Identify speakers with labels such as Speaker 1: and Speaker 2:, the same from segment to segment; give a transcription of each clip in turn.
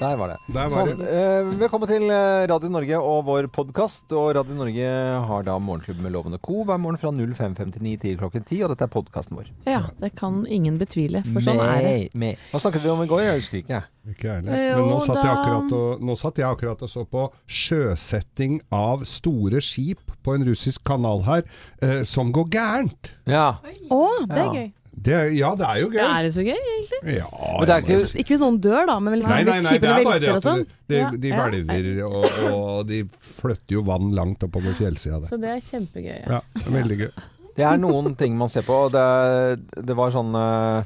Speaker 1: Der var det.
Speaker 2: Der var
Speaker 1: sånn, eh, velkommen til eh, Radio Norge og vår podkast. Og Radio Norge har da morgenklubb med Lovende Co. hver morgen fra 05.59 til klokken 10. Og dette er podkasten vår.
Speaker 3: Ja, det kan ingen betvile, for sånn er det.
Speaker 1: Med- med- Hva snakket vi om i går? Jeg husker ikke.
Speaker 2: Ikke jeg heller.
Speaker 3: Jo
Speaker 2: Men nå satt, jeg
Speaker 3: Eh, da.
Speaker 2: akkurat og, nå satt jeg akkurat og så på sjøsetting av store skip på en russisk kanal her, eh, som går gærent.
Speaker 1: Ja.
Speaker 4: Å, det er
Speaker 1: Ja.
Speaker 4: gøy.
Speaker 2: Det, ja, det er jo gøy.
Speaker 3: Ja, er liksom det så gøy, egentlig?
Speaker 2: Ja,
Speaker 1: Men det er
Speaker 2: jeg må jo
Speaker 1: ikke
Speaker 2: si-
Speaker 4: Ikke hvis noen dør, da, men liksom hvis
Speaker 2: Nei, nei, nei, det
Speaker 4: skipene
Speaker 2: er bare det
Speaker 4: velter og
Speaker 2: at
Speaker 4: sånn.
Speaker 2: det- det,
Speaker 3: Ja,
Speaker 2: de
Speaker 3: ja.
Speaker 2: hvelver, og, og de flytter jo vann langt oppover fjellsida der.
Speaker 3: Så det er kjempegøy. Ja.
Speaker 2: Ja, veldig gøy.
Speaker 1: Det er noen ting man ser på. og Det, er- det var sånn eh,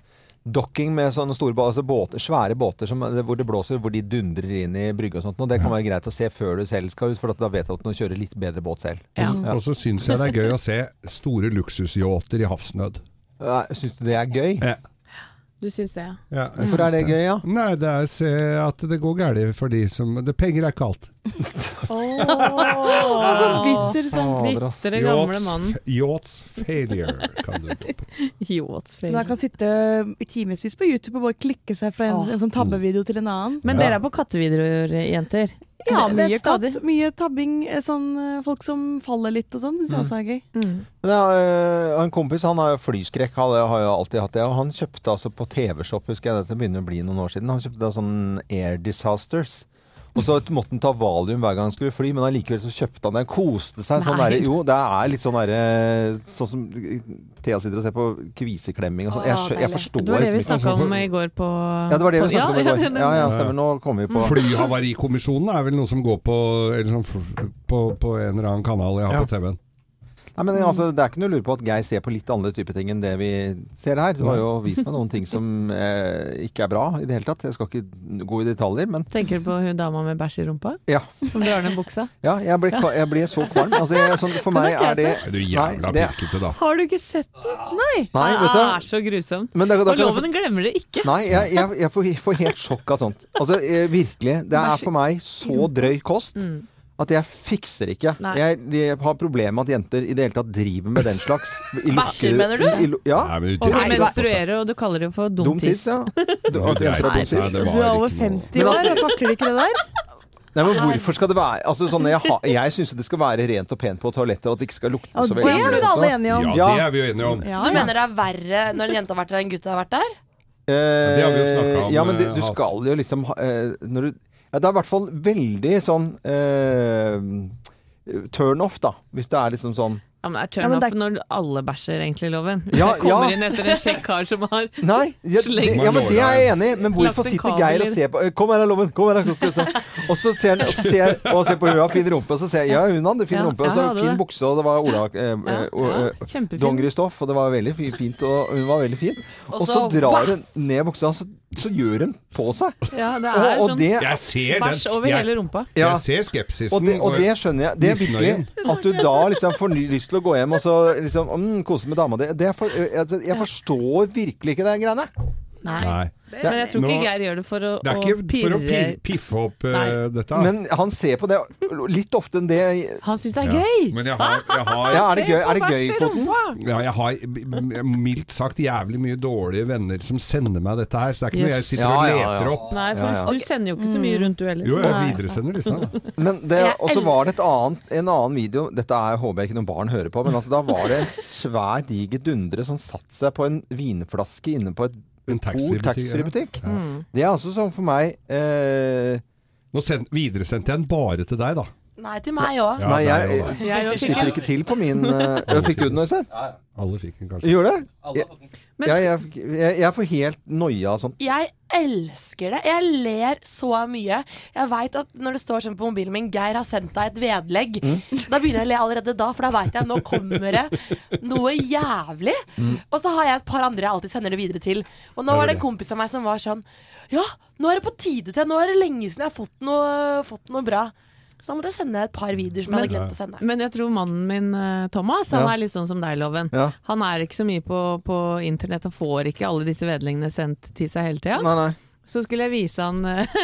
Speaker 1: Dokking med sånne store bå- altså båter, svære båter som, hvor det blåser, hvor de dundrer inn i brygga og sånt. Og det kan være greit å se før du selv skal ut, for at da vet du at du kjører litt bedre båt selv.
Speaker 3: Ja.
Speaker 2: Og så syns jeg det er gøy å se store luksusyachter i havsnød.
Speaker 1: Eh, Syns du det er gøy?
Speaker 2: Ja,
Speaker 3: Du syns det, ja.
Speaker 2: ja, jeg
Speaker 1: Hvorfor
Speaker 2: syns
Speaker 1: er det gøy, ja?
Speaker 2: Nei, det er å se at det går galt for de som det, Penger er ikke alt.
Speaker 3: Oh, så bitter, sånn
Speaker 1: Fader, ass.
Speaker 3: bitre gamle mannen.
Speaker 2: Yachts- Yachts failure, kan du rope.
Speaker 3: Yachts
Speaker 4: Men han kan sitte i timevis på YouTube og bare klikke seg fra en, en sånn tabbevideo til en annen.
Speaker 3: Men
Speaker 2: Ja.
Speaker 3: dere er på kattevideoer, eh, jenter? Eh,
Speaker 4: Ja,
Speaker 3: Det- det
Speaker 4: mye
Speaker 3: er stadig.
Speaker 4: katt, mye tabbing, eh, sånn eh, folk som faller litt og sånn. Det
Speaker 2: Mm.
Speaker 4: syns jeg også er gøy.
Speaker 3: Mm.
Speaker 1: Men jeg har, øh, en kompis han har jo flyskrekk, han har jo alltid hatt det. Og han kjøpte altså på TV-Shop, husker jeg dette begynner å bli noen år siden, han kjøpte da sånn Air Disasters. Og så måtte han ta valium hver gang han skulle fly, men allikevel så kjøpte han det. Han Koste seg sånn
Speaker 3: Nei.
Speaker 1: derre Jo, det er litt sånn derre Sånn som Thea sitter og ser på kviseklemming og sånn. Jeg,
Speaker 4: Å,
Speaker 1: skjø- jeg
Speaker 4: deilig.
Speaker 1: forstår
Speaker 3: Det var det
Speaker 1: liksom
Speaker 3: vi
Speaker 1: ikke
Speaker 3: snakka om i går på
Speaker 1: Ja, det var det vi snakket om i
Speaker 3: Ja,
Speaker 1: går.
Speaker 3: ja, det-
Speaker 1: Ja, ja, stemmer. Nå kommer vi på
Speaker 2: Flyhavarikommisjonen er vel noe som går på, eller sånn, f- på, på en eller annen kanal jeg har
Speaker 1: Ja.
Speaker 2: på TV-en.
Speaker 1: Nei, men altså, Det er ikke noe å lure på at Geir ser på litt andre type ting enn det vi ser her. Du har jo vist meg noen ting som eh, ikke er bra i det hele tatt. Jeg skal ikke gå i detaljer, men
Speaker 3: Tenker du på hun dama med bæsj i rumpa?
Speaker 1: ja.
Speaker 3: Som drar ned buksa?
Speaker 1: ja jeg, ble, ka- jeg ble så kvalm. Altså, jeg, sånn, for meg er det
Speaker 2: Er du jævla
Speaker 1: Nei, det-
Speaker 2: pirkete, da?
Speaker 3: Har du ikke sett den?
Speaker 1: Nei,
Speaker 3: det
Speaker 1: vet
Speaker 3: er så grusomt.
Speaker 1: du. Men da, da
Speaker 3: Og
Speaker 1: kan jeg få-
Speaker 3: loven glemmer det ikke.
Speaker 1: Nei, jeg, jeg, jeg får, får helt sjokk av sånt. Altså, eh, virkelig. Det er for meg så drøy kost
Speaker 4: Mm.
Speaker 1: at jeg fikser ikke.
Speaker 3: Nei.
Speaker 1: Jeg, jeg har problemer med at jenter i det hele tatt driver med den slags. i lukkede-
Speaker 3: Bæsjer, mener du?
Speaker 1: i lu- Ja.
Speaker 2: Nei, men du
Speaker 3: Og du
Speaker 2: dreit deg på seg.
Speaker 3: menstruerer, og du kaller det for dum
Speaker 1: Dum
Speaker 3: tiss.
Speaker 1: tiss, ja. Du,
Speaker 2: Du
Speaker 1: at jenter
Speaker 2: dreit
Speaker 1: har
Speaker 2: deg
Speaker 1: dum
Speaker 2: på seg,
Speaker 1: tiss.
Speaker 2: altså. det var
Speaker 4: Du er over
Speaker 2: ikke noe-
Speaker 4: 50 år og takler ikke det der.
Speaker 1: Nei, men hvorfor skal det være Altså sånn, Jeg, ha- jeg syns jo det skal være rent og pent på toaletter, at det ikke skal lukte
Speaker 4: Og
Speaker 1: så
Speaker 4: det
Speaker 1: veldig.
Speaker 4: er
Speaker 1: mye
Speaker 4: dere alle
Speaker 1: rundt,
Speaker 4: enige om.
Speaker 2: Ja,
Speaker 1: Ja.
Speaker 2: det er vi jo enige om.
Speaker 4: Ja,
Speaker 5: Så du
Speaker 4: ja.
Speaker 5: mener det er verre når en jente har vært der enn en gutt har vært der?
Speaker 1: da.
Speaker 2: det har vi jo snakket om,
Speaker 1: Eh, Ja, men du, du
Speaker 2: eh,
Speaker 1: skal jo liksom ha- eh, Når du ja, Det er i hvert fall veldig sånn eh, turn off, da. Hvis det er liksom sånn
Speaker 3: Ja, men det er
Speaker 4: Ja,
Speaker 3: turn
Speaker 4: men
Speaker 3: off
Speaker 4: det er-
Speaker 3: når alle bæsjer, egentlig, loven.
Speaker 1: Ja,
Speaker 3: det
Speaker 1: ja.
Speaker 3: kommer inn etter en kjekk kar som har
Speaker 1: Nei, ja, det,
Speaker 3: Sleng.
Speaker 1: ja, men det er jeg enig i. Men hvorfor
Speaker 3: Lagt en
Speaker 1: sitter
Speaker 3: kabel
Speaker 1: Geir og
Speaker 3: i-
Speaker 1: ser på eh, Kom her, da, Loven. Kom her, da, nå skal du se. Og så ser han og så ser, og ser på hun har fin rumpe, og så ser jeg ja, hun hadde fin
Speaker 3: Ja,
Speaker 1: rumpe, og
Speaker 3: ja,
Speaker 1: så
Speaker 3: hadde
Speaker 1: fin
Speaker 3: det.
Speaker 1: bukse, og det var Ola eh,
Speaker 3: ja,
Speaker 1: eh, og,
Speaker 3: ja,
Speaker 1: eh,
Speaker 3: Kjempefin.
Speaker 1: dongeristoff, og det var veldig fi- fint, og hun var veldig fin. Og så
Speaker 5: Og så-
Speaker 1: drar hun ned buksa, så, så gjør hun på seg.
Speaker 3: Ja, det
Speaker 1: Og,
Speaker 3: er
Speaker 1: og
Speaker 3: sånn
Speaker 1: det
Speaker 2: Jeg ser den.
Speaker 3: bæsj over
Speaker 2: Jeg-
Speaker 3: hele rumpa.
Speaker 1: ja.
Speaker 2: Jeg ser skepsisen.
Speaker 1: Og det, og det skjønner jeg. Det er virkelig
Speaker 2: Misnøyen.
Speaker 1: At du da liksom får ny- lyst til å gå hjem og så liksom mm, kose med dama di. Det er for, jeg, jeg forstår virkelig ikke de greiene.
Speaker 3: Nei.
Speaker 2: Nei.
Speaker 3: Men jeg tror
Speaker 2: Nå-
Speaker 3: ikke Geir gjør det for å,
Speaker 2: Det er
Speaker 3: å
Speaker 2: ikke for
Speaker 3: pirre
Speaker 2: å pi- piffe opp eh,
Speaker 3: Nei.
Speaker 2: dette.
Speaker 1: Men han ser på det litt ofte enn det
Speaker 3: Han syns det er
Speaker 2: Ja.
Speaker 3: gøy!
Speaker 2: Men jeg har, jeg har
Speaker 1: Ja, er det gøy, er det
Speaker 3: Bæsj
Speaker 1: gøy
Speaker 3: i
Speaker 1: Kotten?
Speaker 3: rumpa!
Speaker 2: Ja, jeg har b- mildt sagt jævlig mye dårlige venner som sender meg dette her, så det er ikke noe jeg
Speaker 3: Yes.
Speaker 2: sitter
Speaker 1: Ja,
Speaker 2: og
Speaker 1: ja, ja.
Speaker 2: leter opp.
Speaker 3: Nei, for
Speaker 1: Ja, ja.
Speaker 3: du sender jo ikke så mye rundt, du heller.
Speaker 2: Jo, jeg
Speaker 3: Nei.
Speaker 2: videresender disse. Da.
Speaker 1: Men det,
Speaker 5: Jeg
Speaker 1: og så var det et annet, en annen video Dette er, håper jeg ikke noen barn hører på, men altså, da var det en svær, diger dundre som satte seg på en vinflaske inne på et
Speaker 2: En
Speaker 1: Pol
Speaker 2: taxfree-butikk,
Speaker 1: taxfree-butikk.
Speaker 2: ja.
Speaker 1: Det er også sånn for meg eh,
Speaker 2: Nå send, videresendte jeg den bare til deg, da.
Speaker 5: Nei, til meg òg.
Speaker 2: Ja,
Speaker 1: Nei,
Speaker 2: det er
Speaker 1: jeg,
Speaker 2: jo det.
Speaker 3: Jeg
Speaker 1: jeg
Speaker 3: også
Speaker 1: slipper
Speaker 3: ikke.
Speaker 1: ikke til på min eh, Fikk du den, Øystein?
Speaker 2: Alle fikk den kanskje.
Speaker 1: Gjorde det?
Speaker 3: Men
Speaker 1: Jeg, jeg, jeg, jeg får helt noia av sånt.
Speaker 5: Jeg elsker det. Jeg ler så mye. Jeg veit at når det står sånn på mobilen min 'Geir har sendt deg et vedlegg', da begynner jeg å le allerede da, for da veit jeg nå kommer det noe jævlig. Og så har jeg et par andre jeg alltid sender det videre til. Og nå var det en kompis av meg som var sånn Ja, nå er det på tide til. Nå er det lenge siden jeg har fått noe, fått noe bra. Så da måtte jeg sende et par videoer som jeg hadde glemt å sende.
Speaker 3: Men jeg tror mannen min, eh, Thomas, han
Speaker 1: Ja.
Speaker 3: er litt sånn som deg, Loven.
Speaker 1: Ja.
Speaker 3: Han er ikke så mye på, på internett og får ikke alle disse vedleggene sendt til seg hele tida.
Speaker 1: Nei, nei.
Speaker 3: Så skulle jeg vise han eh,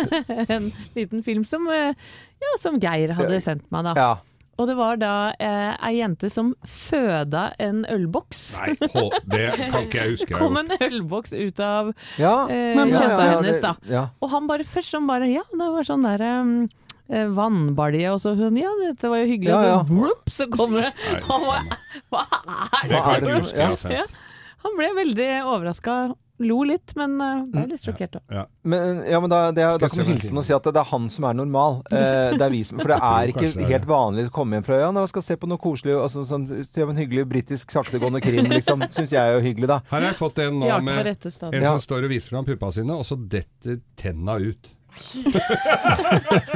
Speaker 3: en liten film som, eh, ja, som Geir hadde sendt meg, da.
Speaker 1: Ja.
Speaker 3: Og det var da eh, ei jente som føda en ølboks.
Speaker 2: Nei, hå, det kan ikke jeg huske.
Speaker 3: Det
Speaker 2: jeg
Speaker 3: kom
Speaker 2: har gjort.
Speaker 3: en ølboks ut av
Speaker 1: Ja.
Speaker 3: eh,
Speaker 4: Men
Speaker 3: kjøttet
Speaker 4: ja,
Speaker 3: hennes, da.
Speaker 1: det- Ja.
Speaker 3: Og han bare først sånn bare Ja, det var sånn der um, eh, Vannbalje og så sånn, ja, dette var jo hyggelig.
Speaker 1: Ja, ja.
Speaker 3: Og så blup, så kom det.
Speaker 2: Nei,
Speaker 3: Han var, hva er
Speaker 2: Det
Speaker 3: det?
Speaker 1: Hva er
Speaker 2: kan jeg
Speaker 1: det
Speaker 2: ikke
Speaker 1: for-
Speaker 2: huske jeg
Speaker 1: ja.
Speaker 2: har sett.
Speaker 3: Ja. Han ble veldig overraska. Lo litt, men eh,
Speaker 1: Mm.
Speaker 3: ble litt sjokkert òg.
Speaker 1: Men, ja, men da, det, er-
Speaker 2: Skal
Speaker 1: da kan
Speaker 2: jeg se
Speaker 1: vi
Speaker 2: hva
Speaker 1: hilse
Speaker 2: jeg
Speaker 1: han og si at det er han som er normal. Eh, det er vi som, for det er
Speaker 2: tror kanskje det
Speaker 1: ikke
Speaker 2: er
Speaker 1: helt
Speaker 2: det.
Speaker 1: vanlig å komme hjem fra øya når man skal se på noe koselig. Altså, sånn, se på en hyggelig britisk saktegående krim, liksom. Syns jeg er jo hyggelig, da.
Speaker 2: Her har jeg fått en nå
Speaker 3: Hjelp på
Speaker 2: med
Speaker 3: rette stedet.
Speaker 2: en
Speaker 1: Ja.
Speaker 2: som står og viser fram puppa sine, og så detter tenna ut.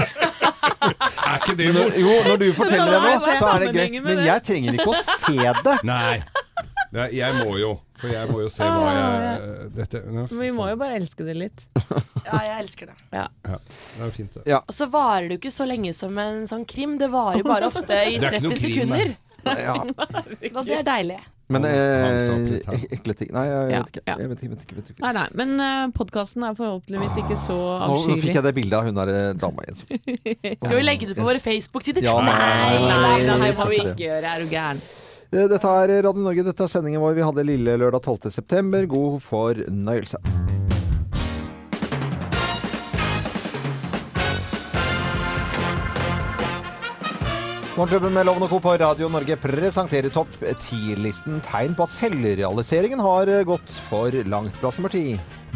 Speaker 2: er ikke det noe?
Speaker 1: Jo, når du forteller det
Speaker 3: Hva
Speaker 1: nå,
Speaker 3: er
Speaker 1: så er det gøy.
Speaker 3: sammenhengen med
Speaker 1: Men
Speaker 3: det?
Speaker 1: jeg trenger ikke å se det.
Speaker 2: Nei. Det er, jeg må jo. For jeg må jo se hva jeg Dette nå,
Speaker 3: Men Ah. vi må jo bare elske det litt.
Speaker 5: Ja, jeg elsker det.
Speaker 2: ja, Det er fint, det.
Speaker 5: Og så varer det jo ikke så lenge som en sånn krim. Det varer jo bare ofte i
Speaker 2: Det er ikke noe
Speaker 5: 30
Speaker 2: krim,
Speaker 5: sekunder.
Speaker 1: Ja.
Speaker 5: Og det er deilig.
Speaker 1: Men
Speaker 2: Han- han sa opp
Speaker 1: eh,
Speaker 2: litt her.
Speaker 1: ek- ekle ting Nei, jeg
Speaker 3: Ja,
Speaker 1: vet ikke.
Speaker 3: ja.
Speaker 1: Jeg vet ikke, vet ikke, vet ikke.
Speaker 3: Nei, nei, men uh, podkasten er forhåpentligvis ikke så
Speaker 1: Nå fikk
Speaker 3: avskyelig.
Speaker 1: jeg det bildet av hun der eh, dama igjen. som-
Speaker 5: Skal vi legge det på våre Facebook-sider?
Speaker 1: Ja, nei,
Speaker 5: nei,
Speaker 3: Nei, nei, det her
Speaker 1: jeg
Speaker 3: må
Speaker 1: skal
Speaker 3: vi
Speaker 1: ikke det.
Speaker 3: ikke gjøre. Er du gæren?
Speaker 1: Eh, Dette er Radio Norge. Dette er sendingen vår vi hadde lille lørdag 12. september. God fornøyelse. Morgenklubben med Loven og Co. på Radio Norge presenterer topp 10-listen tegn på at selvrealiseringen har eh, gått for langt. Plass nummer ti.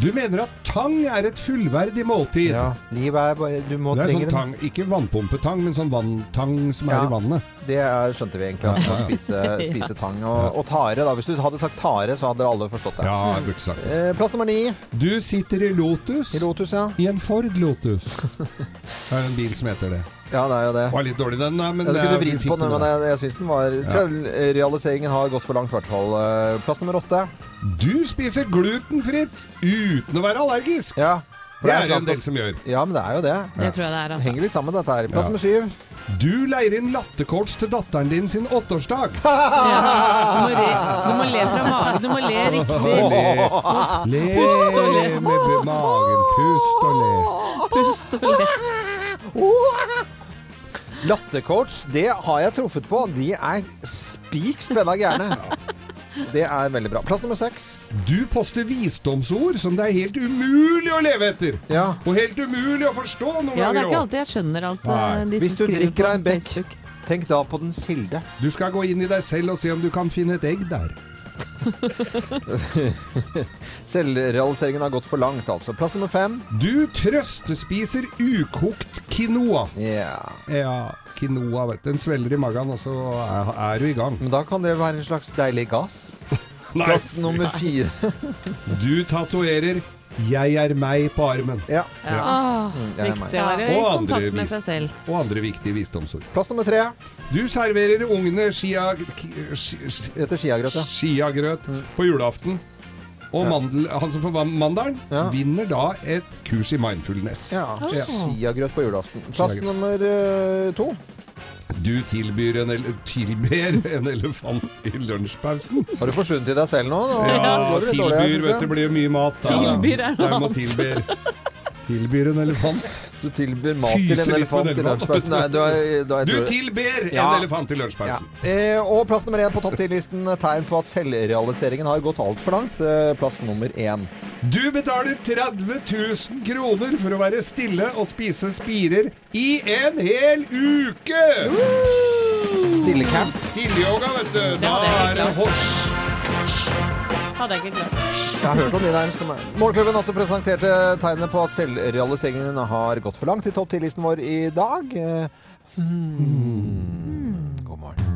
Speaker 2: Du mener at tang er et fullverdig måltid?
Speaker 1: Livet er bare Du må
Speaker 2: Det er
Speaker 1: trenge
Speaker 2: sånn
Speaker 1: den.
Speaker 2: tang, ikke vannpumpetang, men sånn vanntang som
Speaker 1: Ja.
Speaker 2: er i vannet.
Speaker 1: Det er, skjønte vi egentlig. At man
Speaker 2: Ja.
Speaker 1: spise, spise tang og, og tare. Da. Hvis du hadde sagt tare, så hadde alle forstått det.
Speaker 2: Ja, jeg burde sagt det.
Speaker 1: Eh, Plass nummer ni.
Speaker 2: Du sitter i Lotus.
Speaker 1: I Lotus, ja.
Speaker 2: I en Ford Lotus. Det er en bil som heter det.
Speaker 1: Ja, det er jo det.
Speaker 2: Var litt dårlig den, da, men
Speaker 1: Jeg
Speaker 2: det
Speaker 1: kunne
Speaker 2: er-
Speaker 1: vridd
Speaker 2: vi
Speaker 1: på
Speaker 2: fikk
Speaker 1: den, men
Speaker 2: da.
Speaker 1: jeg, jeg syns den var Selvrealiseringen har gått for langt, i hvert fall. Eh, Plass nummer åtte.
Speaker 2: Du spiser glutenfritt uten å være allergisk!
Speaker 1: Ja. for
Speaker 2: Det
Speaker 1: det er
Speaker 2: er det en
Speaker 1: sant.
Speaker 2: del som gjør.
Speaker 1: ja, men det er jo det.
Speaker 3: Det tror jeg det er,
Speaker 1: Det
Speaker 3: altså.
Speaker 1: henger litt sammen, dette her. Plass
Speaker 2: Ja.
Speaker 1: nummer syv.
Speaker 2: Du leier inn lattercoach til datteren din sin åtteårsdag.
Speaker 1: Ah!
Speaker 3: Ja. Du, må le, du må le fra magen. Du må le riktig.
Speaker 2: Le, le
Speaker 3: Pust og le.
Speaker 2: med be- magen. Pust og le.
Speaker 3: Pust og le.
Speaker 1: Lattercoach, det har jeg truffet på. De er spik spenna gærne. Det er veldig bra. Plass nummer seks.
Speaker 2: Du poster visdomsord som det er helt umulig å leve etter.
Speaker 1: Ja.
Speaker 2: Og helt umulig å forstå noen
Speaker 3: Ja, det er
Speaker 2: ganger
Speaker 3: ikke
Speaker 2: òg.
Speaker 3: alltid jeg skjønner alt
Speaker 2: Nei.
Speaker 3: eh, de som
Speaker 1: Hvis du
Speaker 3: skriver
Speaker 1: drikker
Speaker 3: på
Speaker 1: av en bekk.
Speaker 3: Facebook.
Speaker 1: Tenk da på dens kilde.
Speaker 2: Du skal gå inn i deg selv og se om du kan finne et egg der.
Speaker 1: Selvrealiseringen har gått for langt, altså. Plass nummer fem.
Speaker 2: Du trøstespiser ukokt quinoa.
Speaker 1: Ja.
Speaker 2: Ja, quinoa, vet du. Den svelger i magen, og så er, er du i gang.
Speaker 1: Men da kan det være en slags deilig gass. Plass nummer fire.
Speaker 2: Du tatoverer 'Jeg er meg' på armen.
Speaker 1: Ja,
Speaker 3: Ja.
Speaker 5: Åh,
Speaker 1: det er
Speaker 3: Viktig
Speaker 1: meg.
Speaker 3: å være i
Speaker 2: Og andre
Speaker 3: kontakt med
Speaker 2: vis-
Speaker 3: seg selv.
Speaker 2: Og andre viktige visdomsord.
Speaker 1: Plass nummer tre.
Speaker 2: Du serverer ungene skia... ki- ski- ski-
Speaker 1: Etter skiagrøt, ja. Mm.
Speaker 2: Skiagrøt på julaften. Og mandel, han som får van- mandelen,
Speaker 1: Ja.
Speaker 2: vinner da et kurs i mindfulness.
Speaker 1: Ja,
Speaker 3: Ja.
Speaker 1: Skiagrøt på julaften. Plass
Speaker 2: Skiagrøt.
Speaker 1: nummer eh, to.
Speaker 2: Du tilbyr en ele tilber en elefant i lunsjpausen.
Speaker 1: Har du forsvunnet i deg selv nå? Nå
Speaker 2: Ja,
Speaker 1: går det litt dårlig her,
Speaker 2: tilbyr,
Speaker 1: synes
Speaker 2: vet du,
Speaker 1: jeg.
Speaker 2: blir jo mye mat. da.
Speaker 3: Tilbyr er
Speaker 2: Ja,
Speaker 3: noe
Speaker 2: må tilbyr. Tilbyr en elefant.
Speaker 1: Du tilbyr mat
Speaker 2: Fyser
Speaker 1: til
Speaker 2: litt
Speaker 1: en
Speaker 2: på
Speaker 1: elefant
Speaker 2: den
Speaker 1: i
Speaker 2: elefanten.
Speaker 1: lunsjpausen. Nei, du er, du er,
Speaker 2: Du
Speaker 1: tror-
Speaker 2: tilber en
Speaker 1: Ja.
Speaker 2: elefant i
Speaker 1: ja.
Speaker 2: lunsjpausen.
Speaker 1: eh, Og plass nummer én på topp 10-listen. Tegn på at selvrealiseringen har gått altfor langt. Eh, Plass nummer én.
Speaker 2: Du betaler 30 000 kroner for å være stille og spise spirer i en hel uke!
Speaker 1: Stillecamp.
Speaker 2: Stilleyoga, vet du. Da
Speaker 3: hadde jeg ikke
Speaker 2: er det
Speaker 3: klart.
Speaker 2: hors.
Speaker 3: Hadde jeg ikke klart.
Speaker 1: Jeg har hørt om de der som er Morgenklubben altså presenterte tegnene på at selvrealiseringen har gått for langt i topp 10-listen vår i dag. Eh, Hmm. God morgen.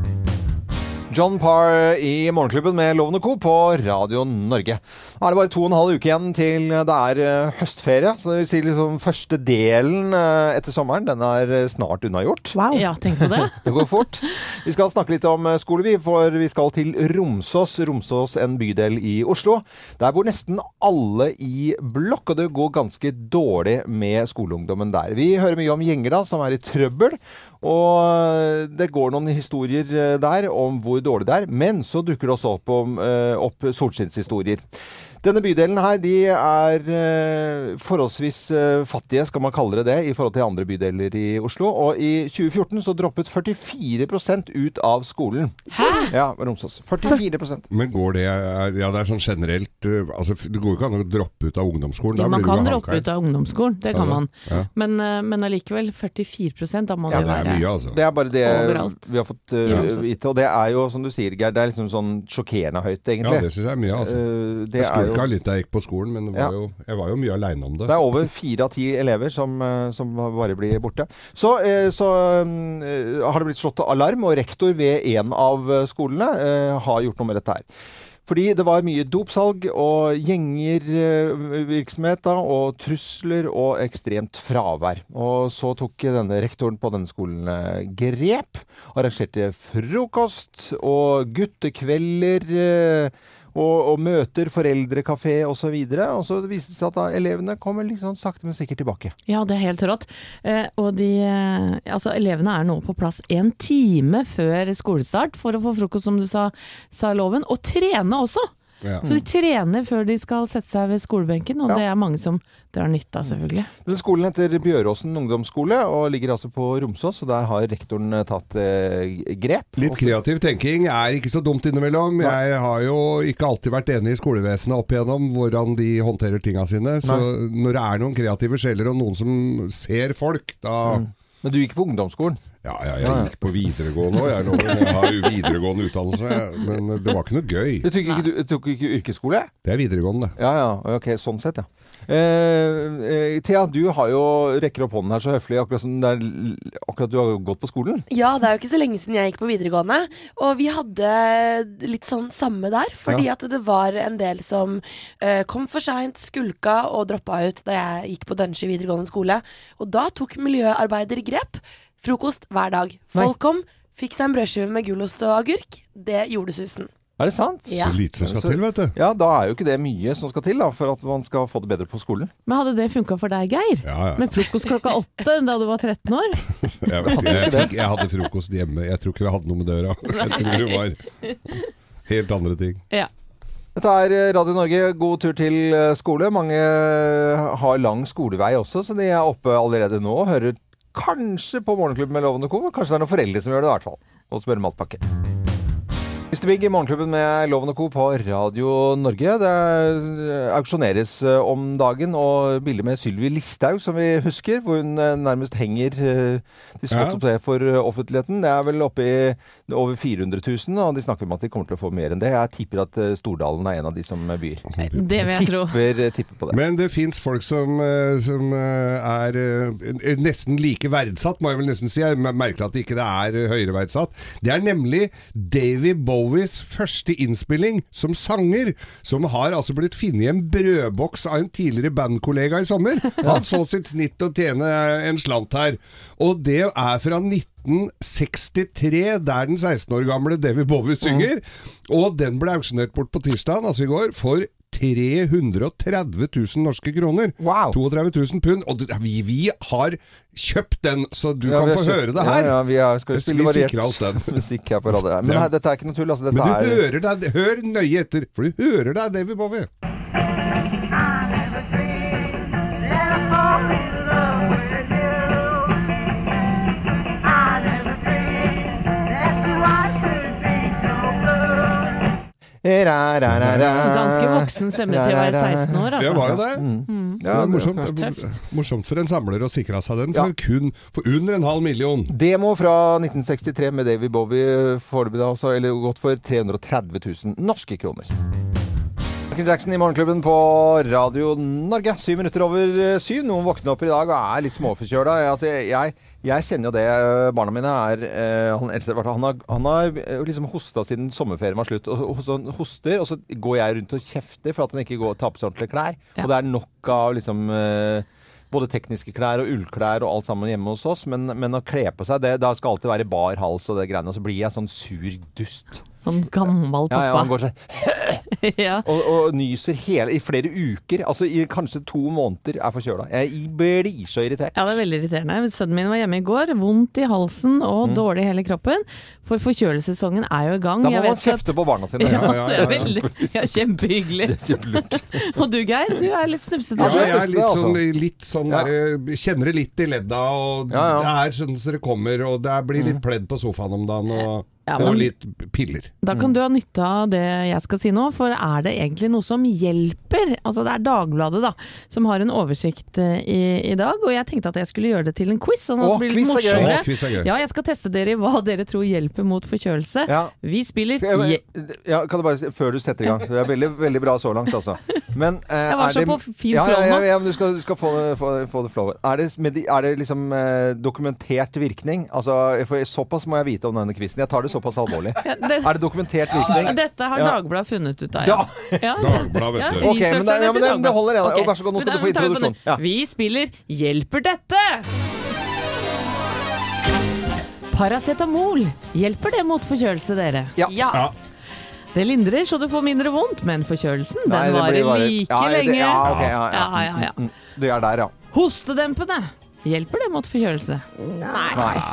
Speaker 1: John Parr i Morgenklubben med Loven og Co. på Radio Norge. Nå er det bare to og en halv uke igjen til det er eh, høstferie. Så det vil si liksom første delen eh, etter sommeren, den er eh, snart unnagjort.
Speaker 4: Wow.
Speaker 3: Ja, tenk på det.
Speaker 1: Det går fort. Vi skal snakke litt om eh, skole, vi, for vi skal til Romsås. Romsås, en bydel i Oslo. Der bor nesten alle i blokk, og det går ganske dårlig med skoleungdommen der. Vi hører mye om gjenger da, som er i trøbbel, og eh, det går noen historier eh, der om hvor dårlig det er. Men så dukker det også opp, om, eh, opp solskinnshistorier. Denne bydelen her, de er eh, forholdsvis eh, fattige, skal man kalle det det, i forhold til andre bydeler i Oslo. Og i 2014 så droppet 44 ut av skolen.
Speaker 3: Hæ?
Speaker 1: Ja, Romsås. 44
Speaker 2: Men går det er- Ja, det er sånn generelt øh, altså, f- Det går jo ikke an å droppe ut av ungdomsskolen.
Speaker 3: Jo,
Speaker 2: da blir du
Speaker 3: man
Speaker 2: jo
Speaker 3: kan droppe
Speaker 2: hanka.
Speaker 3: ut av ungdomsskolen, det kan
Speaker 2: Ja,
Speaker 3: man.
Speaker 2: ja.
Speaker 3: Men, eh, men allikevel, 44 da må
Speaker 1: Ja,
Speaker 2: Ja,
Speaker 3: det
Speaker 2: det er
Speaker 3: være
Speaker 2: mye, altså.
Speaker 1: Det er bare det
Speaker 3: Overalt.
Speaker 1: vi har fått eh,
Speaker 2: Ja. altså.
Speaker 1: vite. Og det er jo, som du sier, Geir, det er liksom sånn sjokkerende høyt,
Speaker 2: Ja,
Speaker 1: egentlig.
Speaker 2: det syns jeg er mye,
Speaker 1: Eh,
Speaker 2: altså.
Speaker 1: det
Speaker 2: Jeg
Speaker 1: er
Speaker 2: skulle
Speaker 1: jo
Speaker 2: ikke ha litt da jeg gikk på skolen, men det var
Speaker 1: Ja.
Speaker 2: jo, jeg var jo mye aleine om det.
Speaker 1: Det er over fire av ti elever som, eh, som bare blir borte. Så, eh, så eh, har det blitt slått alarm, og rektor ved en av eh, skolene eh, har gjort noe med dette her. Fordi det var mye dopsalg og gjengervirksomhet da, og trusler og ekstremt fravær. Og så tok denne rektoren på denne skolen eh, grep. Arrangerte frokost og guttekvelder. eh, og, og møter, foreldrekafé osv. Og, så videre. og så viste det seg at da elevene kommer litt sånn sakte, men sikkert tilbake.
Speaker 3: Ja, det er helt rått. Eh, og de, eh, altså, elevene er nå på plass en time før skolestart for å få frokost, som du sa, sa loven, og trene også!
Speaker 2: Ja.
Speaker 3: Så de trener før de skal sette seg ved skolebenken, og
Speaker 1: Ja.
Speaker 3: det er mange som drar nytte av, selvfølgelig.
Speaker 1: Den skolen heter Bjøråsen ungdomsskole og ligger altså på Romsås, og der har rektoren eh, tatt eh, grep. Og
Speaker 2: Litt
Speaker 1: så-
Speaker 2: kreativ tenking er ikke så dumt innimellom. Jeg har jo ikke alltid vært enig i skolevesenet opp igjennom hvordan de håndterer tinga sine. Så når det er noen kreative sjeler og noen som ser folk, da
Speaker 1: Mm. Men du gikk på ungdomsskolen?
Speaker 2: Ja, ja, jeg gikk på videregående òg, jeg lover. Jeg har jo videregående utdannelse, jeg. men det var ikke noe
Speaker 1: Du
Speaker 2: gøy.
Speaker 1: tok ikke, du, tok ikke yrkesskole?
Speaker 2: Det er videregående.
Speaker 1: Ja ja, ok, sånn sett, ja. Eh, eh, Thea, du har jo rekker opp hånden her så høflig, akkurat som det er, l- akkurat du har jo gått på skolen.
Speaker 5: Ja, det er jo ikke så lenge siden jeg gikk på videregående. Og vi hadde litt sånn samme der. Fordi at det var en del som eh, kom for seint, skulka og droppa ut da jeg gikk på Dønsje videregående skole. Og da tok miljøarbeider grep. Frokost hver dag. Folk kom, fikk seg en brødskive med gulost og agurk. Det gjorde susen.
Speaker 1: Er det sant?
Speaker 5: Ja.
Speaker 2: Så lite som skal til, vet du.
Speaker 1: Ja, da er jo ikke det mye som skal til da, for at man skal få det bedre på skolen.
Speaker 3: Men hadde det funka for deg, Geir?
Speaker 2: Ja, ja.
Speaker 3: Med frokost klokka åtte da du var 13 år?
Speaker 2: Jeg, vet ikke, jeg, fikk, jeg hadde frokost hjemme. Jeg tror ikke det hadde noe med døra. Jeg tror det var helt andre ting.
Speaker 3: Ja.
Speaker 1: Dette er eh, Radio Norge, god tur til eh, skole. Mange eh, har lang skolevei også, så de er oppe allerede nå og hører kanskje på Morgenklubben med Lovende Co. Kanskje det er noen foreldre som gjør det, i hvert fall. Og spør om matpakke. Mr. Big i Morgenklubben med Loven og Co. på Radio Norge. Det er- auksjoneres eh, om dagen, og bildet med Sylvi Listhaug, som vi husker, hvor hun eh, nærmest henger eh, til
Speaker 2: Ja.
Speaker 1: skott og spe for eh, offentligheten. Det er vel oppe i over 400 000, og de snakker om at de kommer til å få mer enn det. Jeg tipper at eh, Stordalen er en av de som eh, byr. eh,
Speaker 3: Det vil jeg tro.
Speaker 1: Tipper, tipper på det.
Speaker 2: Men det fins folk som, eh, som eh, er eh, nesten like verdsatt, må jeg vel nesten si. Jeg mer- merker at det ikke er eh, høyere verdsatt. Det er nemlig Davy Bowies første innspilling som sanger, som har altså blitt funnet i en brødboks av en tidligere bandkollega i sommer. Han så sitt snitt å tjene eh, en slant her. Og det er fra 1963, der den 16 år gamle Davy Bowie synger. Og den ble auksjonert bort på tirsdag, altså i går, for 330 000 norske kroner.
Speaker 1: Wow.
Speaker 2: 32 000 pund. Og det- vi, vi har kjøpt den, så du
Speaker 1: Ja,
Speaker 2: kan
Speaker 1: vi har
Speaker 2: få
Speaker 1: kjøpt-
Speaker 2: høre det her.
Speaker 1: Ja, ja, vi er, skal
Speaker 2: Vi
Speaker 1: jo spille
Speaker 2: sikrer
Speaker 1: variert
Speaker 2: oss den.
Speaker 1: musikk her på radio. her. Men
Speaker 2: Ja.
Speaker 1: nei, dette er ikke noe tull. Altså, dette
Speaker 2: Men du
Speaker 1: er
Speaker 2: hører deg, hør nøye etter, for du hører deg, David Bowie.
Speaker 3: Ganske
Speaker 1: Ganske
Speaker 3: voksen stemme til å være 16 år,
Speaker 2: Det
Speaker 3: altså.
Speaker 2: var jo det.
Speaker 1: Mm. Ja,
Speaker 2: det var
Speaker 1: det er
Speaker 2: morsomt, morsomt for en samler å sikre seg den for
Speaker 1: Ja.
Speaker 2: kun for under en halv million.
Speaker 1: Demo fra 1963 med Davy Bowie foreløpig, da, altså, eller gått for 330 000 norske kroner. Michael Jackson i Morgenklubben på Radio Norge. Syv minutter over eh, syv. Noen våkner opp i dag og er litt småforkjøla. Jeg- Altså, jeg, jeg kjenner jo det. eh, Barna mine er eh, Han eldste, i hvert fall, han har, han har eh, liksom hosta siden sommerferien var slutt. Og og så han hoster, og så går jeg rundt og kjefter for at han ikke går og tar på seg ordentlige klær.
Speaker 3: Ja.
Speaker 1: Og det er nok av liksom eh, både tekniske klær og ullklær og alt sammen hjemme hos oss, men, men å kle på seg, det, da skal alltid være bar hals og det greiene, og så blir jeg sånn sur dust.
Speaker 3: Sånn gammel
Speaker 1: Ja, ja, han
Speaker 3: pappa.
Speaker 1: går sånn
Speaker 3: Ja,
Speaker 1: og, og nyser hele, i flere uker. Altså i kanskje to måneder er forkjøla. Jeg blir så irritert.
Speaker 3: Ja, det er veldig irriterende. Sønnen min var hjemme i går, vondt i halsen og dårlig i hele kroppen. For forkjølelsessesongen er jo i gang.
Speaker 1: Mm. da må
Speaker 3: Jeg
Speaker 1: man
Speaker 3: vet at-
Speaker 1: kjefte på barna sine.
Speaker 3: Ja,
Speaker 2: ja, ja,
Speaker 3: det er
Speaker 2: ja.
Speaker 3: veldig ja, kjempehyggelig.
Speaker 1: Det er kjempelurt.
Speaker 3: Og du Geir, du er litt snufsete.
Speaker 1: Ja,
Speaker 2: Ja,
Speaker 1: det er
Speaker 2: jeg er
Speaker 1: støtte,
Speaker 2: litt
Speaker 1: altså.
Speaker 2: sånn, litt sånn
Speaker 1: Ja.
Speaker 2: der, Kjenner det litt i ledda, og
Speaker 1: Ja,
Speaker 2: det
Speaker 1: ja. Mm.
Speaker 2: er sånn som det kommer, og det er- blir litt pledd på sofaen om dagen, og,
Speaker 3: Ja,
Speaker 2: og
Speaker 3: men-
Speaker 2: litt piller.
Speaker 3: Da
Speaker 1: Mm.
Speaker 3: kan du ha nytte av det jeg skal si nå, for er det egentlig noe som hjelper? Altså det er Dagbladet da, som har en oversikt eh, i, i dag, og jeg tenkte at jeg skulle gjøre det til en quiz. Sånn at
Speaker 1: Å,
Speaker 3: det blir litt
Speaker 1: quiz er gøy.
Speaker 3: morsommere.
Speaker 2: Å, quiz er gøy.
Speaker 3: Ja, jeg skal teste dere i hva dere tror hjelper mot forkjølelse.
Speaker 1: Ja.
Speaker 3: Vi spiller
Speaker 1: Ja,
Speaker 3: je-
Speaker 1: kan du bare, si- før du setter i gang. Det er veldig, veldig bra så langt, altså. Men, eh,
Speaker 3: Jeg var
Speaker 1: er
Speaker 3: så
Speaker 1: det-
Speaker 3: på fin
Speaker 1: ja,
Speaker 3: flow
Speaker 1: ja, ja,
Speaker 3: nå.
Speaker 1: ja, men du skal, du skal få, det- få, det- få det flowet. Er det, med de- er det liksom eh, dokumentert virkning? Altså, for såpass må jeg vite om denne quizen. Jeg tar det såpass alvorlig.
Speaker 3: det-
Speaker 1: Er det dokumentert virkning?
Speaker 3: Dette har
Speaker 1: Ja.
Speaker 3: Dagbladet funnet ut
Speaker 1: Da,
Speaker 3: av. Ja. Ja,
Speaker 2: Dagbladet,
Speaker 3: ja,
Speaker 2: vet du.
Speaker 1: Ok, men det- ja, men det- men det holder, ja.
Speaker 3: Ok.
Speaker 1: Vær så god, nå skal
Speaker 3: Men
Speaker 1: du få
Speaker 3: da tar vi på
Speaker 1: introduksjon.
Speaker 3: nytt.
Speaker 1: Ja.
Speaker 3: Vi spiller Hjelper dette? Paracetamol. Hjelper det mot forkjølelse, dere?
Speaker 1: Ja.
Speaker 5: Ja.
Speaker 2: Ja.
Speaker 3: Det lindrer så du får mindre vondt, men forkjølelsen den
Speaker 1: Nei, det
Speaker 3: varer
Speaker 1: blir bare-
Speaker 3: like
Speaker 1: Ja, det-
Speaker 3: lenge.
Speaker 1: Ja, ok, ja,
Speaker 3: Ja,
Speaker 1: ja.
Speaker 3: ja, ja.
Speaker 1: Mm, Du er der, ja.
Speaker 3: Hostedempende. Hjelper det mot forkjølelse?
Speaker 1: Nei, det gjør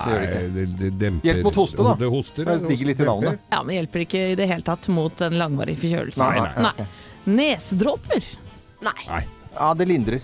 Speaker 1: det ikke.
Speaker 2: Nei, det, det demper
Speaker 1: Hjelp mot hoste, da.
Speaker 2: Det hoster.
Speaker 1: Det ligger litt i navnet.
Speaker 3: Ja, men hjelper ikke i det hele tatt mot en langvarig forkjølelse.
Speaker 1: Nei, nei,
Speaker 3: Nesedråper.
Speaker 5: Nei.
Speaker 2: Nei.
Speaker 1: Ja, det lindrer.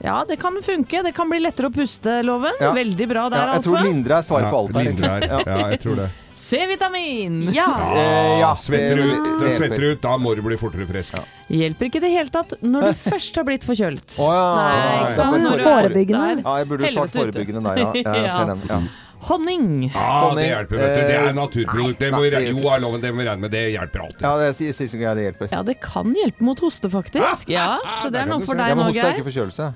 Speaker 3: Ja, det kan funke. Det kan bli lettere å puste, loven.
Speaker 1: Ja.
Speaker 3: Veldig bra der,
Speaker 1: Ja, jeg
Speaker 3: altså.
Speaker 1: tror lindre er svaret
Speaker 2: Ja,
Speaker 1: på alt her.
Speaker 2: lindre
Speaker 1: egentlig.
Speaker 2: her. Ja, jeg tror det.
Speaker 3: C-vitamin.
Speaker 5: Ja.
Speaker 1: Eh, ja.
Speaker 2: Svetter
Speaker 1: Det-
Speaker 2: ut, da
Speaker 1: det hjelper.
Speaker 2: svetter ut, da må du bli fortere frisk.
Speaker 3: Hjelper ikke i det hele tatt når du først har blitt forkjølt.
Speaker 1: Å ja.
Speaker 3: Nei,
Speaker 1: Ja,
Speaker 3: ikke sant?
Speaker 1: for-
Speaker 3: Når du-
Speaker 4: Forebyggende.
Speaker 1: Ja, jeg burde jo svart
Speaker 3: Helvete ute.
Speaker 1: forebyggende der, ja. Ja, Jeg ser den. Ja.
Speaker 3: Honning.
Speaker 2: Ja, Ah,
Speaker 1: Conny,
Speaker 2: det hjelper, vet du. Det er naturprodukt. Det må
Speaker 1: nei,
Speaker 2: vi
Speaker 1: det
Speaker 2: regne
Speaker 1: gjør
Speaker 2: Jo, er loven, det må vi regne med. Det hjelper alltid.
Speaker 1: Ja, det sier sier ikke jeg det hjelper.
Speaker 3: Ja, det kan hjelpe mot hoste,
Speaker 1: Ah!
Speaker 3: faktisk. Ja, Så det
Speaker 2: Der
Speaker 3: er
Speaker 2: kan
Speaker 3: noe
Speaker 2: du
Speaker 3: for
Speaker 1: Ja,
Speaker 2: se.
Speaker 3: deg
Speaker 1: men
Speaker 3: nå,
Speaker 1: hoste er
Speaker 3: Geir.
Speaker 1: ikke forkjølelse.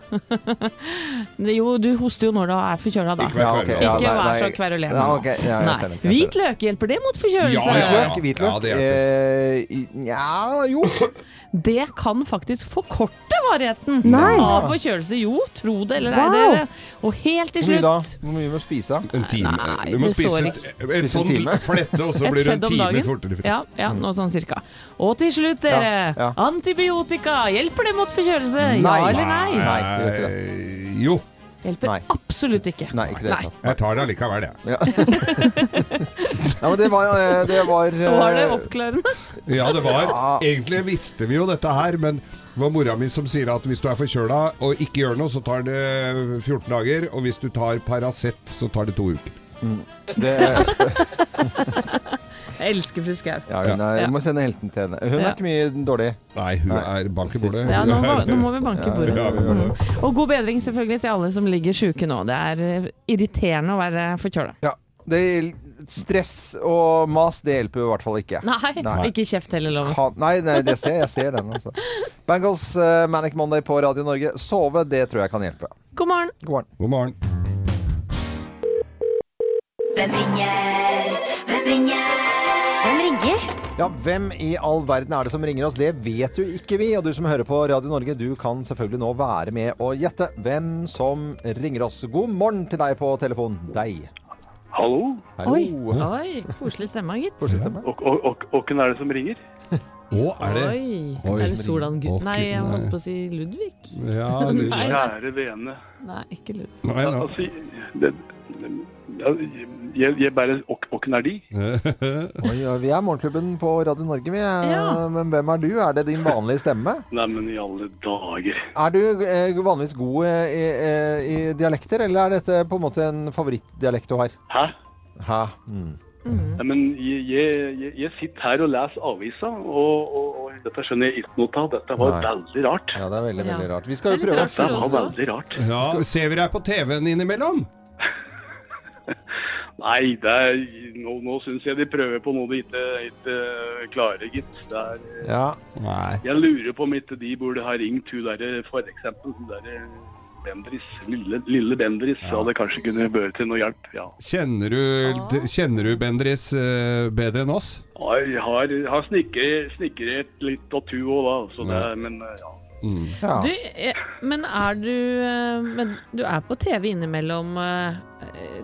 Speaker 3: Jo, du hoster jo når du er forkjøla, da.
Speaker 2: Ikke vær
Speaker 1: ok, nei,
Speaker 2: kverulerende.
Speaker 3: Ikke vær så
Speaker 1: nei.
Speaker 3: kverulerende.
Speaker 1: Ja, ok, ja, jeg ser
Speaker 3: Nei.
Speaker 1: den, jeg
Speaker 3: Hvit
Speaker 1: ser den.
Speaker 3: løk, hjelper det mot forkjølelse?
Speaker 2: Ja, ja,
Speaker 1: Hvitløk? Hvitløk?
Speaker 2: Ja, det
Speaker 1: Eh, i- Nja, jo.
Speaker 3: Det kan faktisk forkorte varigheten
Speaker 4: Nei.
Speaker 3: av forkjølelse. Jo, tro det eller ei,
Speaker 4: Wow.
Speaker 3: dere. Og helt til
Speaker 1: Hvor mye da?
Speaker 3: slutt
Speaker 1: Hvor mye må du spise? da?
Speaker 2: En time.
Speaker 3: Nei,
Speaker 2: du må
Speaker 3: det
Speaker 2: spise
Speaker 3: står
Speaker 2: et, et
Speaker 1: Spise en
Speaker 2: sånt
Speaker 1: time.
Speaker 2: flette, og så
Speaker 3: Et
Speaker 2: blir du en
Speaker 3: fedd om
Speaker 2: time
Speaker 3: dagen.
Speaker 2: fortere Mm. frisk.
Speaker 3: Ja, ja, noe sånn cirka. Og til slutt, dere.
Speaker 1: Ja, ja.
Speaker 3: Antibiotika. Hjelper det mot forkjølelse?
Speaker 1: Nei.
Speaker 3: Ja eller nei?
Speaker 1: Nei, det gjør ikke
Speaker 2: Eh, Jo.
Speaker 3: Hjelper
Speaker 1: Nei.
Speaker 3: absolutt ikke.
Speaker 1: Nei, ikke det hele
Speaker 3: Nei.
Speaker 1: tatt.
Speaker 2: Jeg tar det allikevel, jeg.
Speaker 1: Ja. ja, men det var eh, Det var, eh,
Speaker 3: Var det oppklarende?
Speaker 2: Ja, det var.
Speaker 1: Ja.
Speaker 2: Egentlig visste vi jo dette her, men det var mora mi som sier at hvis du er forkjøla og ikke gjør noe, så tar det 14 dager. Og hvis du tar Paracet, så tar det to uker.
Speaker 1: Mm. det-
Speaker 3: Jeg elsker fru Skau.
Speaker 1: Ja, hun er, vi må sende helten til henne. Hun er
Speaker 3: Ja.
Speaker 1: ikke mye dårlig.
Speaker 2: Nei, hun er bank i bordet.
Speaker 3: Ja, nå, må- nå må vi banke i
Speaker 1: Ja, Mm.
Speaker 3: bordet.
Speaker 2: Ja, vi gjør det.
Speaker 3: Og god bedring selvfølgelig til alle som ligger sjuke nå. Det er eh, irriterende å være forkjøla.
Speaker 1: Ja. Det, stress og mas, det hjelper jo i hvert fall ikke.
Speaker 3: Nei,
Speaker 1: Nei.
Speaker 3: ikke kjeft heller, Loven.
Speaker 1: Kan, nei, nei det ser, jeg ser den, altså. Bangles eh, Manic Monday på Radio Norge. Sove, det tror jeg kan hjelpe.
Speaker 3: God morgen.
Speaker 1: God morgen.
Speaker 2: God morgen.
Speaker 6: Hvem ringer? Hvem ringer? Hvem ringer?
Speaker 1: Ja, hvem i all verden er det som ringer oss? Det vet jo ikke vi. Og du som hører på Radio Norge, du kan selvfølgelig nå være med og gjette hvem som ringer oss. God morgen til deg på telefon. Deg.
Speaker 7: Hallo?
Speaker 1: Hallo.
Speaker 3: Oi, koselig stemme, gitt.
Speaker 1: Får sitte med.
Speaker 7: Og, og, og, og hvem er det som ringer?
Speaker 2: Å, er det
Speaker 3: Oi.
Speaker 2: Oi.
Speaker 3: Er det Solan Gud?
Speaker 2: Å,
Speaker 3: Nei, jeg
Speaker 2: nei.
Speaker 3: holdt på å si Ludvig.
Speaker 2: Ja, du,
Speaker 3: Nei.
Speaker 7: Kjære vene.
Speaker 3: Nei, ikke Ludvig.
Speaker 2: nei,
Speaker 7: Al-
Speaker 2: nei.
Speaker 7: Altså, det, ja, jeg, jeg bare Og og hvem er de?
Speaker 1: Oi, ja, vi er Morgenklubben på Radio Norge, vi. er-
Speaker 3: Ja.
Speaker 1: Men hvem er du? Er det din vanlige stemme?
Speaker 7: Nei, men i alle dager.
Speaker 1: Er du eh, vanligvis god eh, i, eh, i dialekter, eller er dette på en måte en favorittdialekt du har?
Speaker 7: Hæ?
Speaker 1: Hæ? Mm.
Speaker 3: Mhm.
Speaker 7: Nei, men jeg, jeg, jeg- jeg sitter her og leser avisa, og, og, og dette skjønner jeg ikke noe av. Dette var
Speaker 1: Nei.
Speaker 7: veldig rart.
Speaker 1: Ja, det er veldig,
Speaker 3: Ja.
Speaker 1: veldig rart. Vi skal jo
Speaker 3: Det
Speaker 1: prøve å
Speaker 3: er litt rart for
Speaker 7: Det var
Speaker 3: også.
Speaker 7: veldig rart.
Speaker 2: Ja, ser vi deg på TV-en innimellom?
Speaker 7: Nei, det er, nå, nå syns jeg de prøver på noe de ikke, ikke klarer, gitt. Det er,
Speaker 1: Ja.
Speaker 2: Nei.
Speaker 7: jeg lurer på om ikke de burde ha ringt hun derre, for eksempel hun derre Bendris, lille, lille Bendris, ja. hadde kanskje kunne børe til noe hjelp. Ja.
Speaker 2: Kjenner du, d- kjenner du Bendris eh, bedre enn oss?
Speaker 7: Jeg har, har snikret, snikret litt av tu òg, da. Så det, men eh, ja.
Speaker 2: Mm.
Speaker 1: ja.
Speaker 3: Du, eh, men er du eh, Men du er på TV innimellom eh, eh,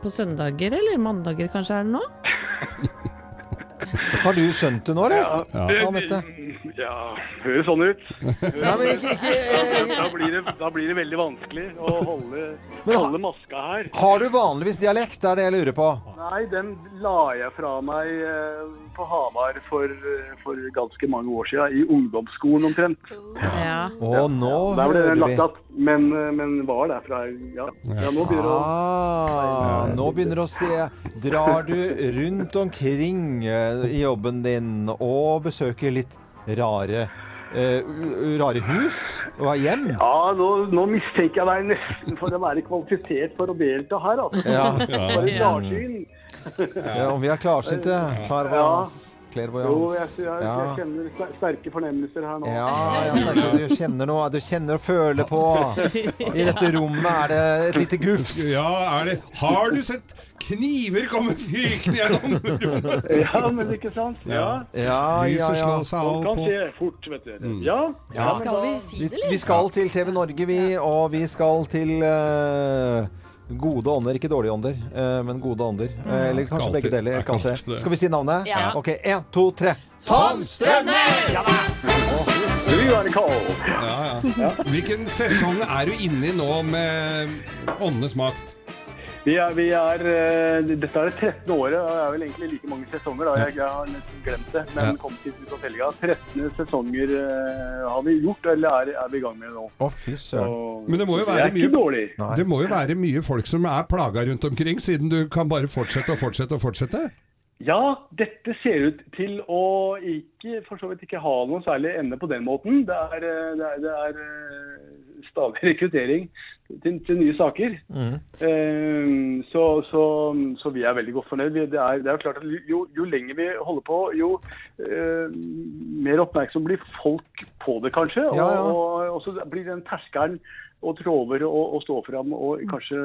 Speaker 3: på søndager, eller mandager kanskje er det nå?
Speaker 1: Har du skjønt det nå, eller?
Speaker 7: Ja,
Speaker 1: Ja, Anette.
Speaker 7: ja høres sånn ut.
Speaker 1: Nei, men ikke, ikke eh,
Speaker 7: Da blir, det, da blir det veldig vanskelig å holde,
Speaker 1: Men ha-
Speaker 7: holde maska her.
Speaker 1: Har du vanligvis dialekt? Det er det jeg lurer på.
Speaker 7: Nei, den la jeg fra meg eh, på Hamar for, eh, for ganske mange år siden, i ungdomsskolen omtrent.
Speaker 3: Ja.
Speaker 1: Å, nå
Speaker 7: Der ble den
Speaker 1: hører vi.
Speaker 7: lagt att, men, eh, men var derfra. Ja, ja nå begynner det å
Speaker 1: Ah, nå begynner det å se. Drar du rundt omkring eh, i jobben din og besøker litt rare eh, u- rare hus og er hjem?
Speaker 7: Ja, nå, nå mistenker jeg deg nesten for å være kvalifisert for å delta her, altså.
Speaker 1: Ja.
Speaker 7: Bare klarsyn.
Speaker 1: ja om vi er klarsynte? Clairvoyance.
Speaker 7: Jo, jeg, jeg, jeg
Speaker 1: Ja.
Speaker 7: kjenner ster- sterke fornemmelser her nå.
Speaker 1: Ja, ja, sterkt. du kjenner noe. Du kjenner og føler på. I dette rommet er det et lite gufs.
Speaker 2: Ja, er det Har du sett kniver komme fykende gjennom rommet?
Speaker 7: Ja, men ikke sant? Ja.
Speaker 1: Ja, ja,
Speaker 2: Lyset
Speaker 1: ja.
Speaker 2: slår seg
Speaker 7: Sånt
Speaker 2: Mm. av
Speaker 7: kan
Speaker 2: på
Speaker 7: skje fort, vet dere. Ja, ja, men
Speaker 5: Skal
Speaker 7: da
Speaker 5: vi si
Speaker 1: Vi,
Speaker 5: det, eller?
Speaker 1: vi skal til TV Norge, vi, og vi skal til eh, gode ånder. Ikke dårlige ånder, eh, men gode ånder.
Speaker 7: Mm.
Speaker 1: Eh, eller kanskje
Speaker 2: Alltid.
Speaker 1: begge deler.
Speaker 2: Jeg
Speaker 1: Kalt det.
Speaker 2: kalte det.
Speaker 1: Skal vi si navnet?
Speaker 5: Ja.
Speaker 1: Ok, én, to, tre. Tom Strømnes!
Speaker 7: vi være kald.
Speaker 2: ja, ja. Hvilken sesong er du inne i nå med åndenes makt?
Speaker 7: Vi er, vi er, eh, dette er det 13. året, og det er vel egentlig like mange sesonger. Da. Jeg, jeg har nesten glemt det, men
Speaker 2: Ja.
Speaker 7: kom til ut av tellinga. 13 sesonger eh, har vi gjort, eller er, er vi i gang med nå.
Speaker 1: Å, fy søren.
Speaker 7: Og
Speaker 2: Men det må jo
Speaker 7: jeg
Speaker 2: være
Speaker 7: er
Speaker 2: mye-
Speaker 7: ikke dårlig.
Speaker 1: Nei.
Speaker 2: Det må jo være mye folk som er plaga rundt omkring, siden du kan bare fortsette og fortsette og fortsette.
Speaker 7: Ja, dette ser ut til å ikke, for så vidt ikke ha noe særlig ende på den måten. Det er, eh, det er, det er eh, stadig rekruttering til, til nye saker. Eh, Så, så, så vi er veldig godt fornøyd. Vi- Det er, det er jo klart at jo, jo lenger vi holder på, jo eh, mer oppmerksom blir folk på det, kanskje. Og,
Speaker 1: Ja, ja.
Speaker 7: og, og så blir den terskelen og trå over og, og stå fram og kanskje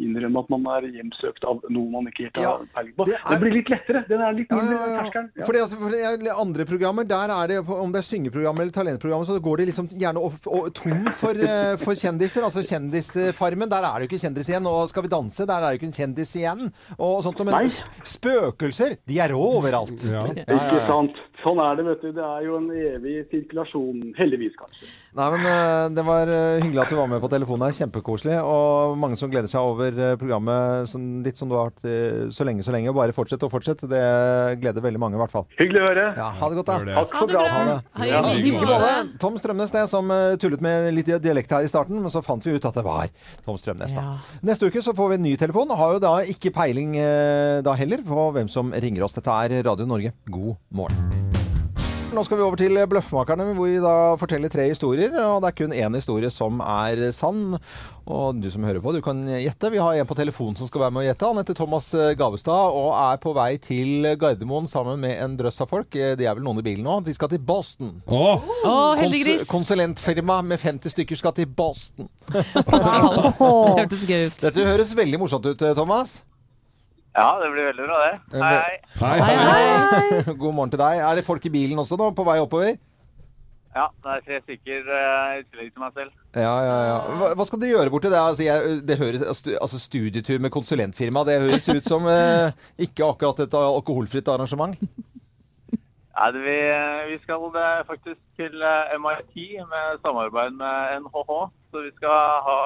Speaker 7: innrømme at man er hjemsøkt av noe man ikke helt har
Speaker 1: Ja,
Speaker 7: peiling på.
Speaker 1: det
Speaker 7: Det,
Speaker 1: er-
Speaker 7: blir litt lettere. Den er litt
Speaker 1: Ja,
Speaker 7: mindre
Speaker 1: ja, ja.
Speaker 7: terskelen. Ja.
Speaker 1: Fordi at, fordi at andre programmer, der er det, om det er syngeprogram eller talentprogram, så går de liksom gjerne opp, og, tom for, eh, for kjendiser. Altså Kjendisfarmen, der er det jo ikke kjendis igjen. Og Skal vi danse, der er det jo ikke en kjendis igjen. Og sånt, men
Speaker 7: Nei.
Speaker 1: sp- spøkelser, de er rå overalt.
Speaker 2: Ja.
Speaker 1: ja, ja.
Speaker 7: Ikke sant. Sånn er det, vet du. Det er jo en evig sirkulasjon. Heldigvis, kanskje.
Speaker 1: Nei, men eh, Det var eh, hyggelig at du var med på telefonen. her, Kjempekoselig. Og mange som gleder seg over eh, programmet som- ditt som du har hatt eh, så lenge, så lenge. Bare fortsett og fortsett. Det gleder veldig mange, i hvert fall.
Speaker 7: Hyggelig å høre.
Speaker 1: Ja, Ha det godt,
Speaker 2: Gjør
Speaker 1: da.
Speaker 2: det.
Speaker 7: Takk
Speaker 5: Ha
Speaker 7: for
Speaker 5: det
Speaker 7: praten.
Speaker 5: bra.
Speaker 1: Ha det.
Speaker 5: Hei,
Speaker 7: Ja,
Speaker 5: i
Speaker 1: I
Speaker 5: like
Speaker 1: like
Speaker 5: måte.
Speaker 1: måte. Tom Strømnes, det, som eh, tullet med litt dialekt her i starten, men så fant vi ut at det var Tom Strømnes, da.
Speaker 3: Ja.
Speaker 1: Neste uke så får vi en ny telefon. Har jo da ikke peiling eh, da heller på hvem som ringer oss. Dette er Radio Norge. God morgen. Nå skal vi over til Bløffmakerne, hvor vi da forteller tre historier. Og det er kun én historie som er sann. Og du som hører på, du kan gjette. Vi har en på telefon som skal være med å gjette. Han heter Thomas eh, Gavestad og er på vei til Gardermoen sammen med en drøss av folk. Eh, De er vel noen i bilen nå. De skal til Boston.
Speaker 2: Å,
Speaker 3: Å,
Speaker 1: Kons
Speaker 3: heldiggris!
Speaker 1: konsulentfirma med 50 stykker skal til Boston.
Speaker 3: Det hørtes gøy ut.
Speaker 1: Dette høres veldig morsomt ut, eh, Thomas.
Speaker 8: Ja, det blir veldig bra,
Speaker 1: Eh,
Speaker 8: det. Hei, hei.
Speaker 2: hei,
Speaker 3: Hei,
Speaker 2: hei.
Speaker 3: hei.
Speaker 1: God morgen til deg. Er det folk i bilen også nå, på vei oppover?
Speaker 8: Ja, det er tre stykker eh, i tillegg til meg selv.
Speaker 1: Ja, ja, ja. Hva, hva skal dere gjøre borti det? Altså, jeg, det høres, stu- altså, studietur med konsulentfirma, det høres ut som eh, ikke akkurat et alkoholfritt arrangement.
Speaker 8: Nei, det, vi, vi skal eh, faktisk til eh, MIT med samarbeid med NHH. Så vi skal ha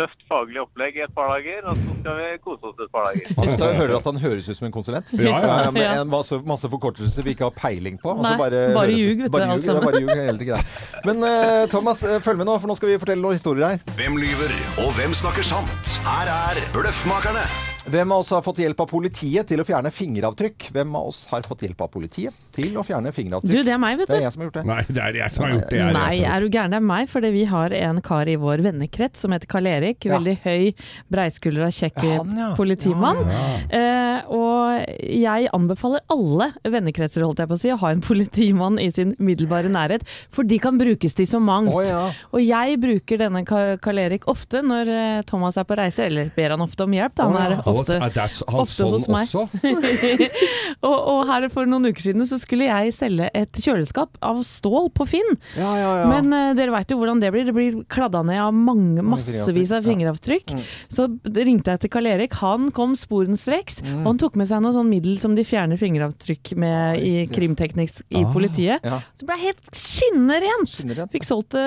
Speaker 8: tøft faglig opplegg i et par dager, og så skal vi kose oss et par dager.
Speaker 1: Han, da hører du at han høres ut som en konsulent?
Speaker 2: Ja, ja.
Speaker 1: Ja, med en masse, masse forkortelser vi ikke har peiling på. og så
Speaker 3: Nei, bare
Speaker 1: høres-
Speaker 3: ljug, vet du,
Speaker 1: Bare
Speaker 3: alt
Speaker 1: ljug, det er bare ljug hele tiden. Men eh, Thomas, eh, følg med nå, for nå skal vi fortelle noen historier her.
Speaker 9: Hvem lyver, og hvem snakker sant? Her er Bløffmakerne.
Speaker 1: Hvem av oss har fått hjelp av politiet til å fjerne fingeravtrykk? Hvem av oss har fått hjelp av politiet til å fjerne
Speaker 3: Du,
Speaker 1: fingeravtrykk?
Speaker 3: det er meg, vet
Speaker 1: Det
Speaker 3: du.
Speaker 1: er jeg som har gjort det.
Speaker 2: Nei, det er jeg som har gjort det. det er jeg som har
Speaker 3: Nei,
Speaker 2: gjort det.
Speaker 3: er du gæren? Det er meg, fordi vi har en kar i vår vennekrets som heter Karl-Erik.
Speaker 1: Ja.
Speaker 3: Veldig høy, breiskuldra, kjekk
Speaker 1: Ja, han, ja.
Speaker 3: politimann. Eh, og jeg anbefaler alle vennekretser, holdt jeg på å si, å ha en politimann i sin middelbare nærhet, for de kan brukes til så mangt.
Speaker 1: Å, ja.
Speaker 3: Og jeg bruker denne Ka- Karl-Erik ofte når eh, Thomas er på reise, eller ber han ofte om hjelp, da. Han er
Speaker 2: Å,
Speaker 3: ofte
Speaker 2: er det s- han
Speaker 3: ofte hos
Speaker 2: sånn
Speaker 3: meg.
Speaker 2: også?
Speaker 3: og, og her for noen uker siden så skulle jeg selge et kjøleskap av stål på Finn.
Speaker 1: Ja, ja, ja.
Speaker 3: Men eh, dere veit jo hvordan det blir. Det blir kladda ned av mange, massevis av fingeravtrykk. Så ringte jeg til Karl Erik. Han kom sporenstreks. Og han tok med seg noe sånn middel som de fjerner fingeravtrykk med i krimteknisk i
Speaker 1: Ah,
Speaker 3: politiet.
Speaker 1: ja.
Speaker 3: Så ble det helt skinnerent!
Speaker 1: Skinnerent.
Speaker 3: Fikk solgt det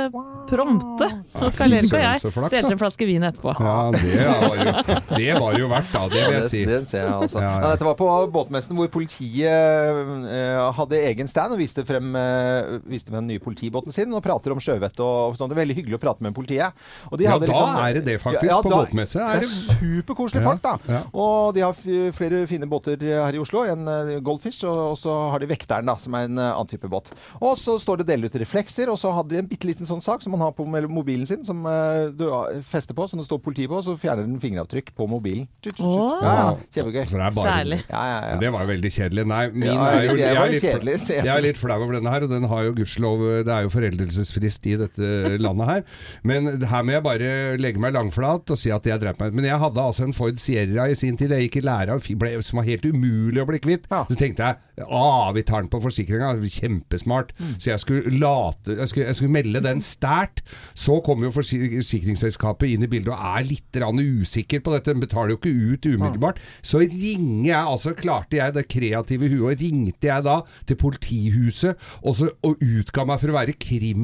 Speaker 3: prompte. Og Karl Erik og
Speaker 2: søren, så
Speaker 3: jeg
Speaker 2: flaks, da.
Speaker 3: delte en flaske vin etterpå.
Speaker 2: Ja, det var jo, det var jo verdt, da. Det vil jeg
Speaker 1: Det,
Speaker 2: si.
Speaker 1: det ser jeg altså.
Speaker 2: Ja, ja.
Speaker 1: Nei, dette var på båtmessen hvor politiet eh, hadde egen stand og viste frem, eh, viste frem den nye politibåten sin og prater om sjøvett og, og sånt. Det er veldig hyggelig å prate med politiet. Og de
Speaker 2: Ja,
Speaker 1: hadde liksom-
Speaker 2: da er det det faktisk. På båtmesse er
Speaker 1: det
Speaker 2: det-
Speaker 1: er superkoselige
Speaker 2: Ja,
Speaker 1: folk, da.
Speaker 2: ja.
Speaker 1: Og de har f flere fine båter her i Oslo. En eh, Goldfish, og, og så har de Vekteren, da, som er en eh, annen type båt. Og så står det 'dele ut reflekser', og så hadde de en bitte liten sånn sak som man har på mel- mobilen sin, som eh, du eh, fester på, som det står politi på, og så fjerner den fingeravtrykk på mobilen. Tut, tut, tut.
Speaker 3: Åh.
Speaker 1: Ja, ja. Kjempegøy.
Speaker 2: Så Altså, det er bare
Speaker 3: Særlig.
Speaker 1: Ja, ja, ja.
Speaker 2: Det var jo veldig kjedelig. Nei, min
Speaker 1: Ja,
Speaker 2: er jo,
Speaker 1: det
Speaker 2: jeg,
Speaker 1: var
Speaker 2: er litt,
Speaker 1: kjedelig,
Speaker 2: fla-
Speaker 1: ser jeg.
Speaker 2: jeg er litt flau over denne her, og den har jo gudskjelov Det er jo foreldelsesfrist i dette landet her. Men her må jeg bare legge meg langflat og si at jeg dreit meg ut. Men jeg hadde altså en Ford Sierra i sin tid. Jeg gikk i læra og fi- ble, som var helt umulig å bli kvitt.
Speaker 1: Ja.
Speaker 2: Så tenkte jeg ah, vi tar den på forsikringa. Kjempesmart.
Speaker 1: Mm.
Speaker 2: Så jeg skulle late Jeg skulle, jeg skulle melde den stært. Så kommer jo forsi- forsikringsselskapet inn i bildet og er litt grann usikker på dette. Den betaler jo ikke ut umiddelbart. Så ringer jeg, altså klarte jeg det kreative huet, ringte jeg da til politihuset og, så, og utga meg for å være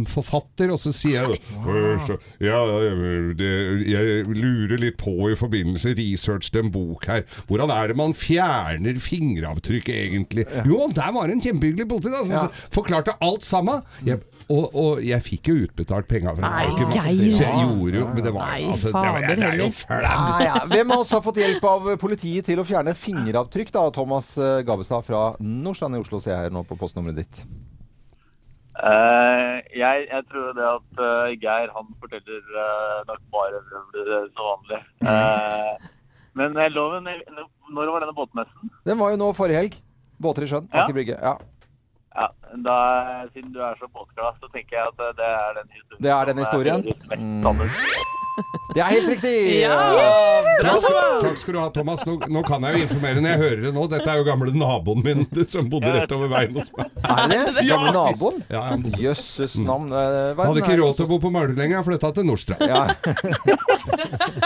Speaker 2: krimforfatter, og så sier jeg «Øh, så- ja, ja, det- jeg lurer litt på i forbindelse research til en bok her, hvordan er det man fjerner fingeravtrykk egentlig? Jo, der var det en kjempehyggelig politi da, som
Speaker 1: Ja.
Speaker 2: så forklarte alt sammen. Jeg, og, og jeg fikk jo utbetalt penger fra
Speaker 3: Nei,
Speaker 2: banken,
Speaker 3: Geir.
Speaker 2: så jeg gjorde jo, men det var,
Speaker 3: Nei,
Speaker 2: altså, det, var,
Speaker 3: fader
Speaker 2: det er jo
Speaker 3: heller.
Speaker 2: flaut.
Speaker 1: Ja, ja. Hvem av oss har fått hjelp av politiet til å fjerne fingeravtrykk, da? Thomas eh, Gabestad fra Nordstrand i Oslo ser jeg her nå på postnummeret ditt.
Speaker 8: Eh, jeg, jeg tror det at eh, Geir han forteller uh, nok bare vrøvler eh, som vanlig. Eh, men eh, loven, eh, når var denne båtmessen?
Speaker 1: Den var jo nå forrige helg. Båter i sjøen,
Speaker 8: Ja.
Speaker 1: Aker Brygge. Ja.
Speaker 8: Ja, da, siden du er så båtglad, så tenker jeg at eh, det er den historien.
Speaker 1: Det er den
Speaker 8: som
Speaker 1: historien. Mm.
Speaker 8: litt mest standard.
Speaker 1: Det er helt riktig!
Speaker 2: Takk, takk skal du ha, Thomas. Nå, nå kan jeg jo informere når jeg hører det nå. Dette er jo gamle naboen min som bodde rett over veien hos meg.
Speaker 1: Er det det?
Speaker 2: Ja,
Speaker 1: Gamle naboen?
Speaker 2: Ja, han bodde-
Speaker 1: Jøsses navn. eh, hva er
Speaker 2: hadde
Speaker 1: den
Speaker 2: ikke
Speaker 1: her?
Speaker 2: råd til å bo på Mæler lenger, jeg flytta til Nordstrand.
Speaker 1: Ja.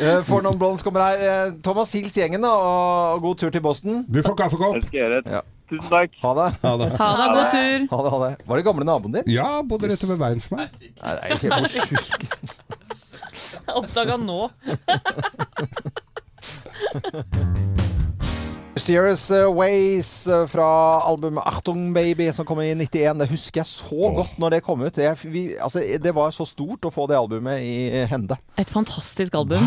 Speaker 1: Eh, For noen blondes kommer her. Eh, Thomas, hils gjengen, da, og og god tur til Boston.
Speaker 2: Du får
Speaker 8: Det
Speaker 2: kaffekopp.
Speaker 8: skal jeg gjøre.
Speaker 1: Ja.
Speaker 8: Tusen takk.
Speaker 1: Ha det.
Speaker 2: Ja, da.
Speaker 3: Ha det, god tur!
Speaker 1: Ha det, ha det. Var det gamle naboen din?
Speaker 2: Ja, bodde rett over veien for meg.
Speaker 1: Nei, det er jo helt hvor sjukt.
Speaker 3: Oppdaga nå.
Speaker 1: Mysterious eh, Ways eh, fra albumet Achtung Baby som kom i 91. Det husker jeg så godt når det kom ut. Det, vi, altså, det var så stort å få det albumet i eh, hende.
Speaker 3: Et fantastisk album.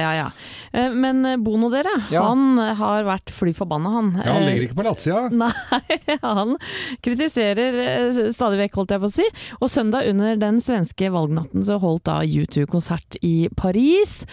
Speaker 3: Ja, ja. Eh, Men eh, Bono, dere,
Speaker 1: Ja.
Speaker 3: han eh, har vært fly forbanna, han.
Speaker 2: Ja, han
Speaker 3: Eh,
Speaker 2: ligger ikke på latsida.
Speaker 3: Nei, han kritiserer eh, stadig vekk, holdt jeg på å si. Og søndag under den svenske valgnatten så holdt da U2 konsert i Paris.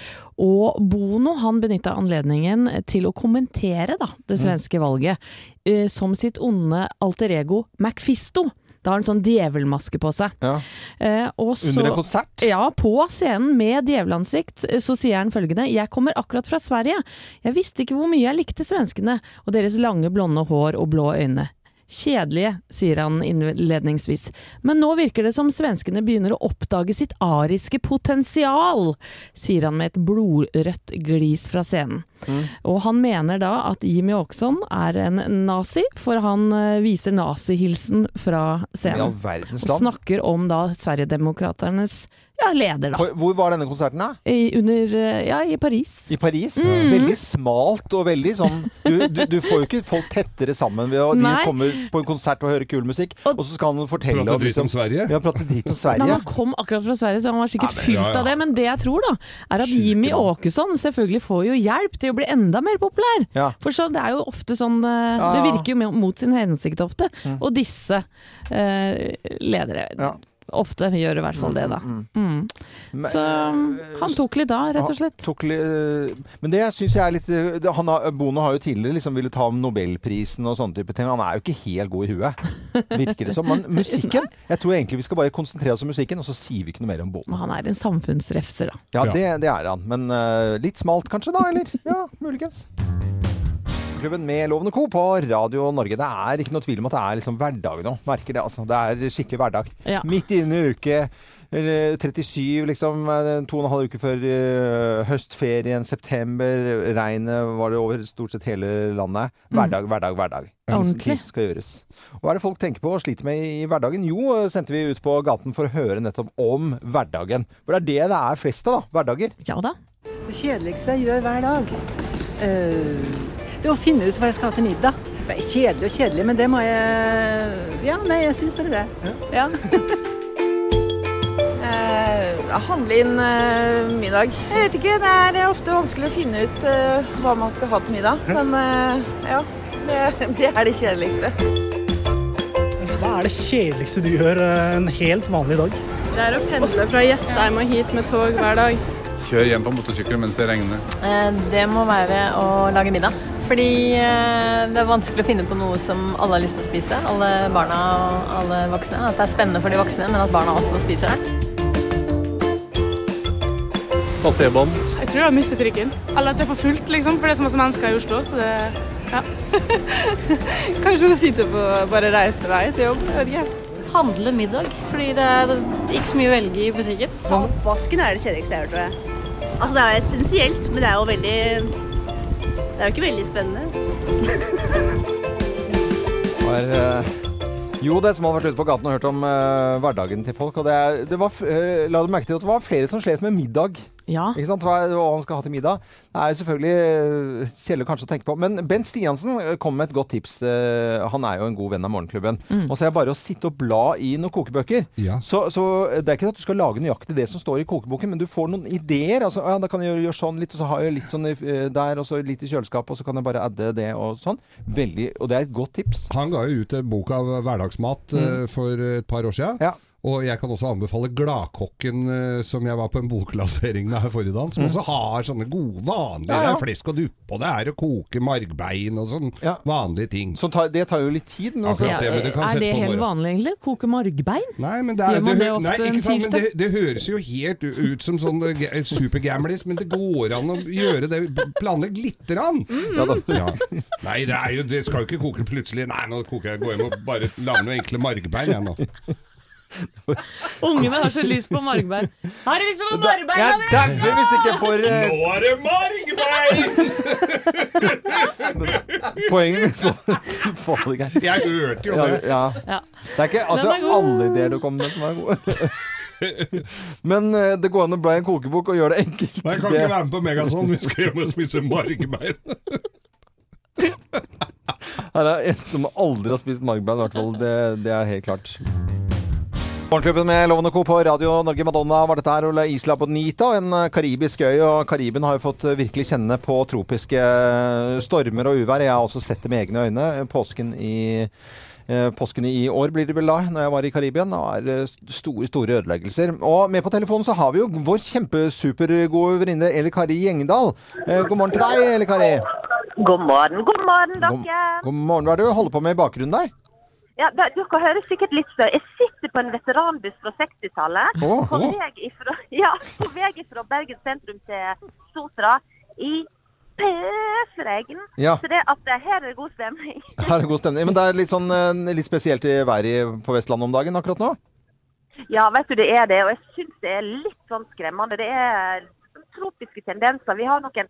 Speaker 3: Og Bono han benytta anledningen til å kommentere da, det
Speaker 2: Mm.
Speaker 3: svenske valget eh, som sitt onde alter ego Macfisto. Da har han sånn djevelmaske på seg.
Speaker 1: Ja.
Speaker 3: Eh, og så-
Speaker 1: Under en konsert.
Speaker 3: ja, på scenen med djevelansikt eh, så sier han følgende Jeg kommer akkurat fra Sverige. Jeg visste ikke hvor mye jeg likte svenskene og deres lange blonde hår og blå øyne. Kjedelige, sier han innledningsvis. Men nå virker det som svenskene begynner å oppdage sitt ariske potensial, sier han med et blodrødt glis fra scenen. Og han mener da at Jimmy Åkesson er en nazi, for han eh, viser nazihilsen
Speaker 1: I all
Speaker 3: fra scenen.
Speaker 1: verdens
Speaker 3: Og
Speaker 1: land.
Speaker 3: snakker om da Sverigedemokraternes ja, leder, da.
Speaker 1: Hvor- Hvor var denne konserten, da?
Speaker 3: I, under eh, Ja, i Paris.
Speaker 1: I Paris.
Speaker 3: Mm.
Speaker 1: Veldig smalt og veldig sånn du, du, du får jo ikke folk tettere sammen ved å De
Speaker 3: Nei.
Speaker 1: kommer på en konsert og hører kul musikk,
Speaker 3: Og-
Speaker 1: og så skal han fortelle
Speaker 2: Prate
Speaker 1: om
Speaker 2: dritt om
Speaker 1: liksom,
Speaker 2: Sverige.
Speaker 1: Ja, prate dritt om
Speaker 3: Men
Speaker 1: Sverige.
Speaker 3: han kom akkurat fra Sverige, så han var sikkert
Speaker 2: Ja, men-
Speaker 3: fylt
Speaker 2: ja, ja.
Speaker 3: av det. Men det jeg tror, da, er at Jimmy Åkesson selvfølgelig får jo hjelp til å bli enda mer populær.
Speaker 1: Ja.
Speaker 3: For så, det er jo ofte sånn eh, Det
Speaker 1: Ja. Mm.
Speaker 3: virker jo me- mot sin hensikt ofte. Og disse eh, ledere
Speaker 1: Ja.
Speaker 3: ofte gjør i hvert fall det, da. Mm.
Speaker 1: Men-
Speaker 3: Så han tok litt da, rett og slett.
Speaker 1: Ah, Tok, li- øh, men det syns jeg er litt øh, det- han har, Bono har jo tidligere liksom villet ta om Nobelprisen og sånne type ting. Han er jo ikke helt god i huet, virker det som. Men musikken Jeg tror egentlig vi skal bare konsentrere oss om musikken, og så sier vi ikke noe mer om Bono.
Speaker 3: Men han er en samfunnsrefser, da.
Speaker 1: Ja,
Speaker 2: Ja.
Speaker 1: eh, det, det er han. Men øh, litt smalt kanskje, da? Eller? Ja, muligens. Morgenklubben med Lovende Co. på Radio Norge. Det er ikke noe tvil om at det er liksom hverdag nå. Merker det, altså. Det er skikkelig hverdag.
Speaker 3: Ja.
Speaker 1: Midt inne i uke eh, 37, liksom. eh, To og en halv uke før eh, høstferien, september. Regnet var det over stort sett hele landet. Hverdag, hverdag, hverdag.
Speaker 3: Mhm. Ordentlig.
Speaker 1: Ting som skal gjøres. Og Hva er det folk tenker på og sliter med i hverdagen? Jo, eh, sendte vi ut på gaten for å høre nettopp om hverdagen. For det er det det er flest av, da. Hverdager.
Speaker 3: Ja da.
Speaker 10: Det kjedeligste jeg gjør hver dag, eh, det er å finne ut hva jeg skal ha til middag. Det er kjedelig og kjedelig, men det må jeg Ja, nei, jeg syns bare det. Ja.
Speaker 11: handle inn eh, middag. Jeg vet ikke, det er eh, ofte vanskelig å finne ut eh, hva man skal ha til middag. Men eh, ja, det, det er det kjedeligste.
Speaker 12: Hva er det kjedeligste du gjør eh, en helt vanlig dag?
Speaker 13: Det er å pendle fra Jessheim og hit med tog hver dag.
Speaker 14: Kjør hjem på motorsykkel mens det regner.
Speaker 11: Eh,
Speaker 15: Det må være å lage middag. Fordi eh, det er vanskelig å finne på noe som alle har lyst til å spise. Alle barna og alle voksne. At det er spennende for de voksne, men at barna også spiser det.
Speaker 16: Ta T-banen.
Speaker 13: Jeg tror jeg har mistet trikken. Eller at det er for fullt, liksom. For det er så masse mennesker i Oslo, så det ja. Kanskje hun sitter på bare reisevei til jobb. Jeg vet ikke.
Speaker 17: Handle middag, fordi det er ikke så mye å velge i butikken.
Speaker 18: Oppvasken er det kjedeligste jeg har gjort, tror jeg. Altså, det er essensielt, men det er jo veldig Det er jo ikke veldig spennende.
Speaker 1: var eh, Jo det som hadde vært ute på gaten og hørt om eh, hverdagen til folk. Og det, er- det var, f- eh, la du merke til at det var flere som slet med middag. Ikke sant? Hva, hva man skal ha til middag. Det er jo selvfølgelig eh, kjedelig kanskje å tenke på. Men Bent Stiansen eh, kom med et godt tips. Eh, Han er jo en god venn av Morgenklubben.
Speaker 2: Mm.
Speaker 1: Og så er det bare å sitte og bla i noen kokebøker. Så, så det er ikke sånn at du skal lage nøyaktig det som står i kokeboken, men du får noen ideer. Altså, ja, da kan jeg gjøre- gjøre sånn litt, og så har jeg litt sånn eh, der, og så litt i kjøleskapet, og så kan jeg bare adde det og sånn. Veldig, og det er et godt tips.
Speaker 2: Han ga jo ut en bok av hverdagsmat
Speaker 1: Mm.
Speaker 2: eh, for et par år siden. Og jeg kan også anbefale Gladkokken, eh, som jeg var på en boklansering med her forrige dag, som
Speaker 19: Mm.
Speaker 2: også har sånne gode vanlige
Speaker 19: Ja, ja.
Speaker 2: Det er flesk og duppe, og det er å koke margbein og sånn vanlige ting.
Speaker 1: Så det tar jo litt tid, men altså-
Speaker 2: Akkurat det, men du kan
Speaker 3: er
Speaker 2: sette
Speaker 3: det
Speaker 2: på
Speaker 3: helt
Speaker 2: morgenen.
Speaker 3: vanlig, egentlig? Koke margbein?
Speaker 2: Nei, men Det, er,
Speaker 3: Gjør man det
Speaker 2: hø-
Speaker 3: ofte
Speaker 2: nei, ikke
Speaker 3: en
Speaker 2: sant, men
Speaker 3: tirsdag?
Speaker 2: det, det høres jo helt u- ut som sånn eh, ga- supergamlis, men det går an å gjøre det. Planlegg lite grann!
Speaker 3: Mm.
Speaker 1: Ja da.
Speaker 2: Nei, det, er jo, det skal jo ikke koke plutselig. Nei, nå koker jeg, går jeg hjem og bare lager noen enkle margbein, jeg nå.
Speaker 3: Ungene har så lyst på margbein. Har du lyst på margbein?
Speaker 1: Jeg
Speaker 3: Anne?
Speaker 1: dauer hvis ikke jeg får eh,
Speaker 2: Nå er det margbein!
Speaker 1: poenget mitt. for- for det ikke.
Speaker 2: Jeg hørte jo
Speaker 1: Ja,
Speaker 2: det.
Speaker 1: Ja.
Speaker 3: Ja.
Speaker 1: Det er ikke altså,
Speaker 3: Den er god.
Speaker 1: alle ideer du kommer med som er gode. Men eh, det går an å bla i en kokebok og gjøre det enkelt.
Speaker 2: Nei, jeg kan ikke være med på Megazon, vi skal hjem og spise margbein.
Speaker 1: Her er en som aldri har spist margbein, i hvert fall. Det, det er helt klart. Morgenklubben med Loven og Co. på Radio Norge. Madonna var dette her, og La Isla Bonita, en eh, karibisk øy. Og Karibien har jo fått eh, virkelig kjenne på tropiske eh, stormer og uvær. Jeg har også sett det med egne øyne. Eh, Påsken i eh, Påsken i år blir det vel da, når jeg var i Karibien. Det er eh, store, store ødeleggelser. Og med på telefonen så har vi jo vår kjempesupergode venninne Eli Kari Gjengdal. Eh, God morgen til deg, Eli Kari.
Speaker 20: God morgen, god morgen, dere.
Speaker 1: God morgen. Hva er det du holder på med i bakgrunnen der?
Speaker 20: Ja, da, dere hører sikkert litt støy. Jeg sitter på en veteranbuss fra 60-tallet.
Speaker 1: Åh,
Speaker 20: på,
Speaker 1: åh.
Speaker 20: vei ifra- ja, på vei fra Bergen sentrum til Sotra i pøsregn.
Speaker 1: Ja.
Speaker 20: Så det at det, her er det god stemning.
Speaker 1: Her er god stemning. Men det er litt, sånn, eh, litt spesielt i været i- på Vestlandet om dagen akkurat nå.
Speaker 20: Ja, vet du, det er det. Og jeg syns det er litt sånn skremmende. Det er tropiske tendenser. Vi har noen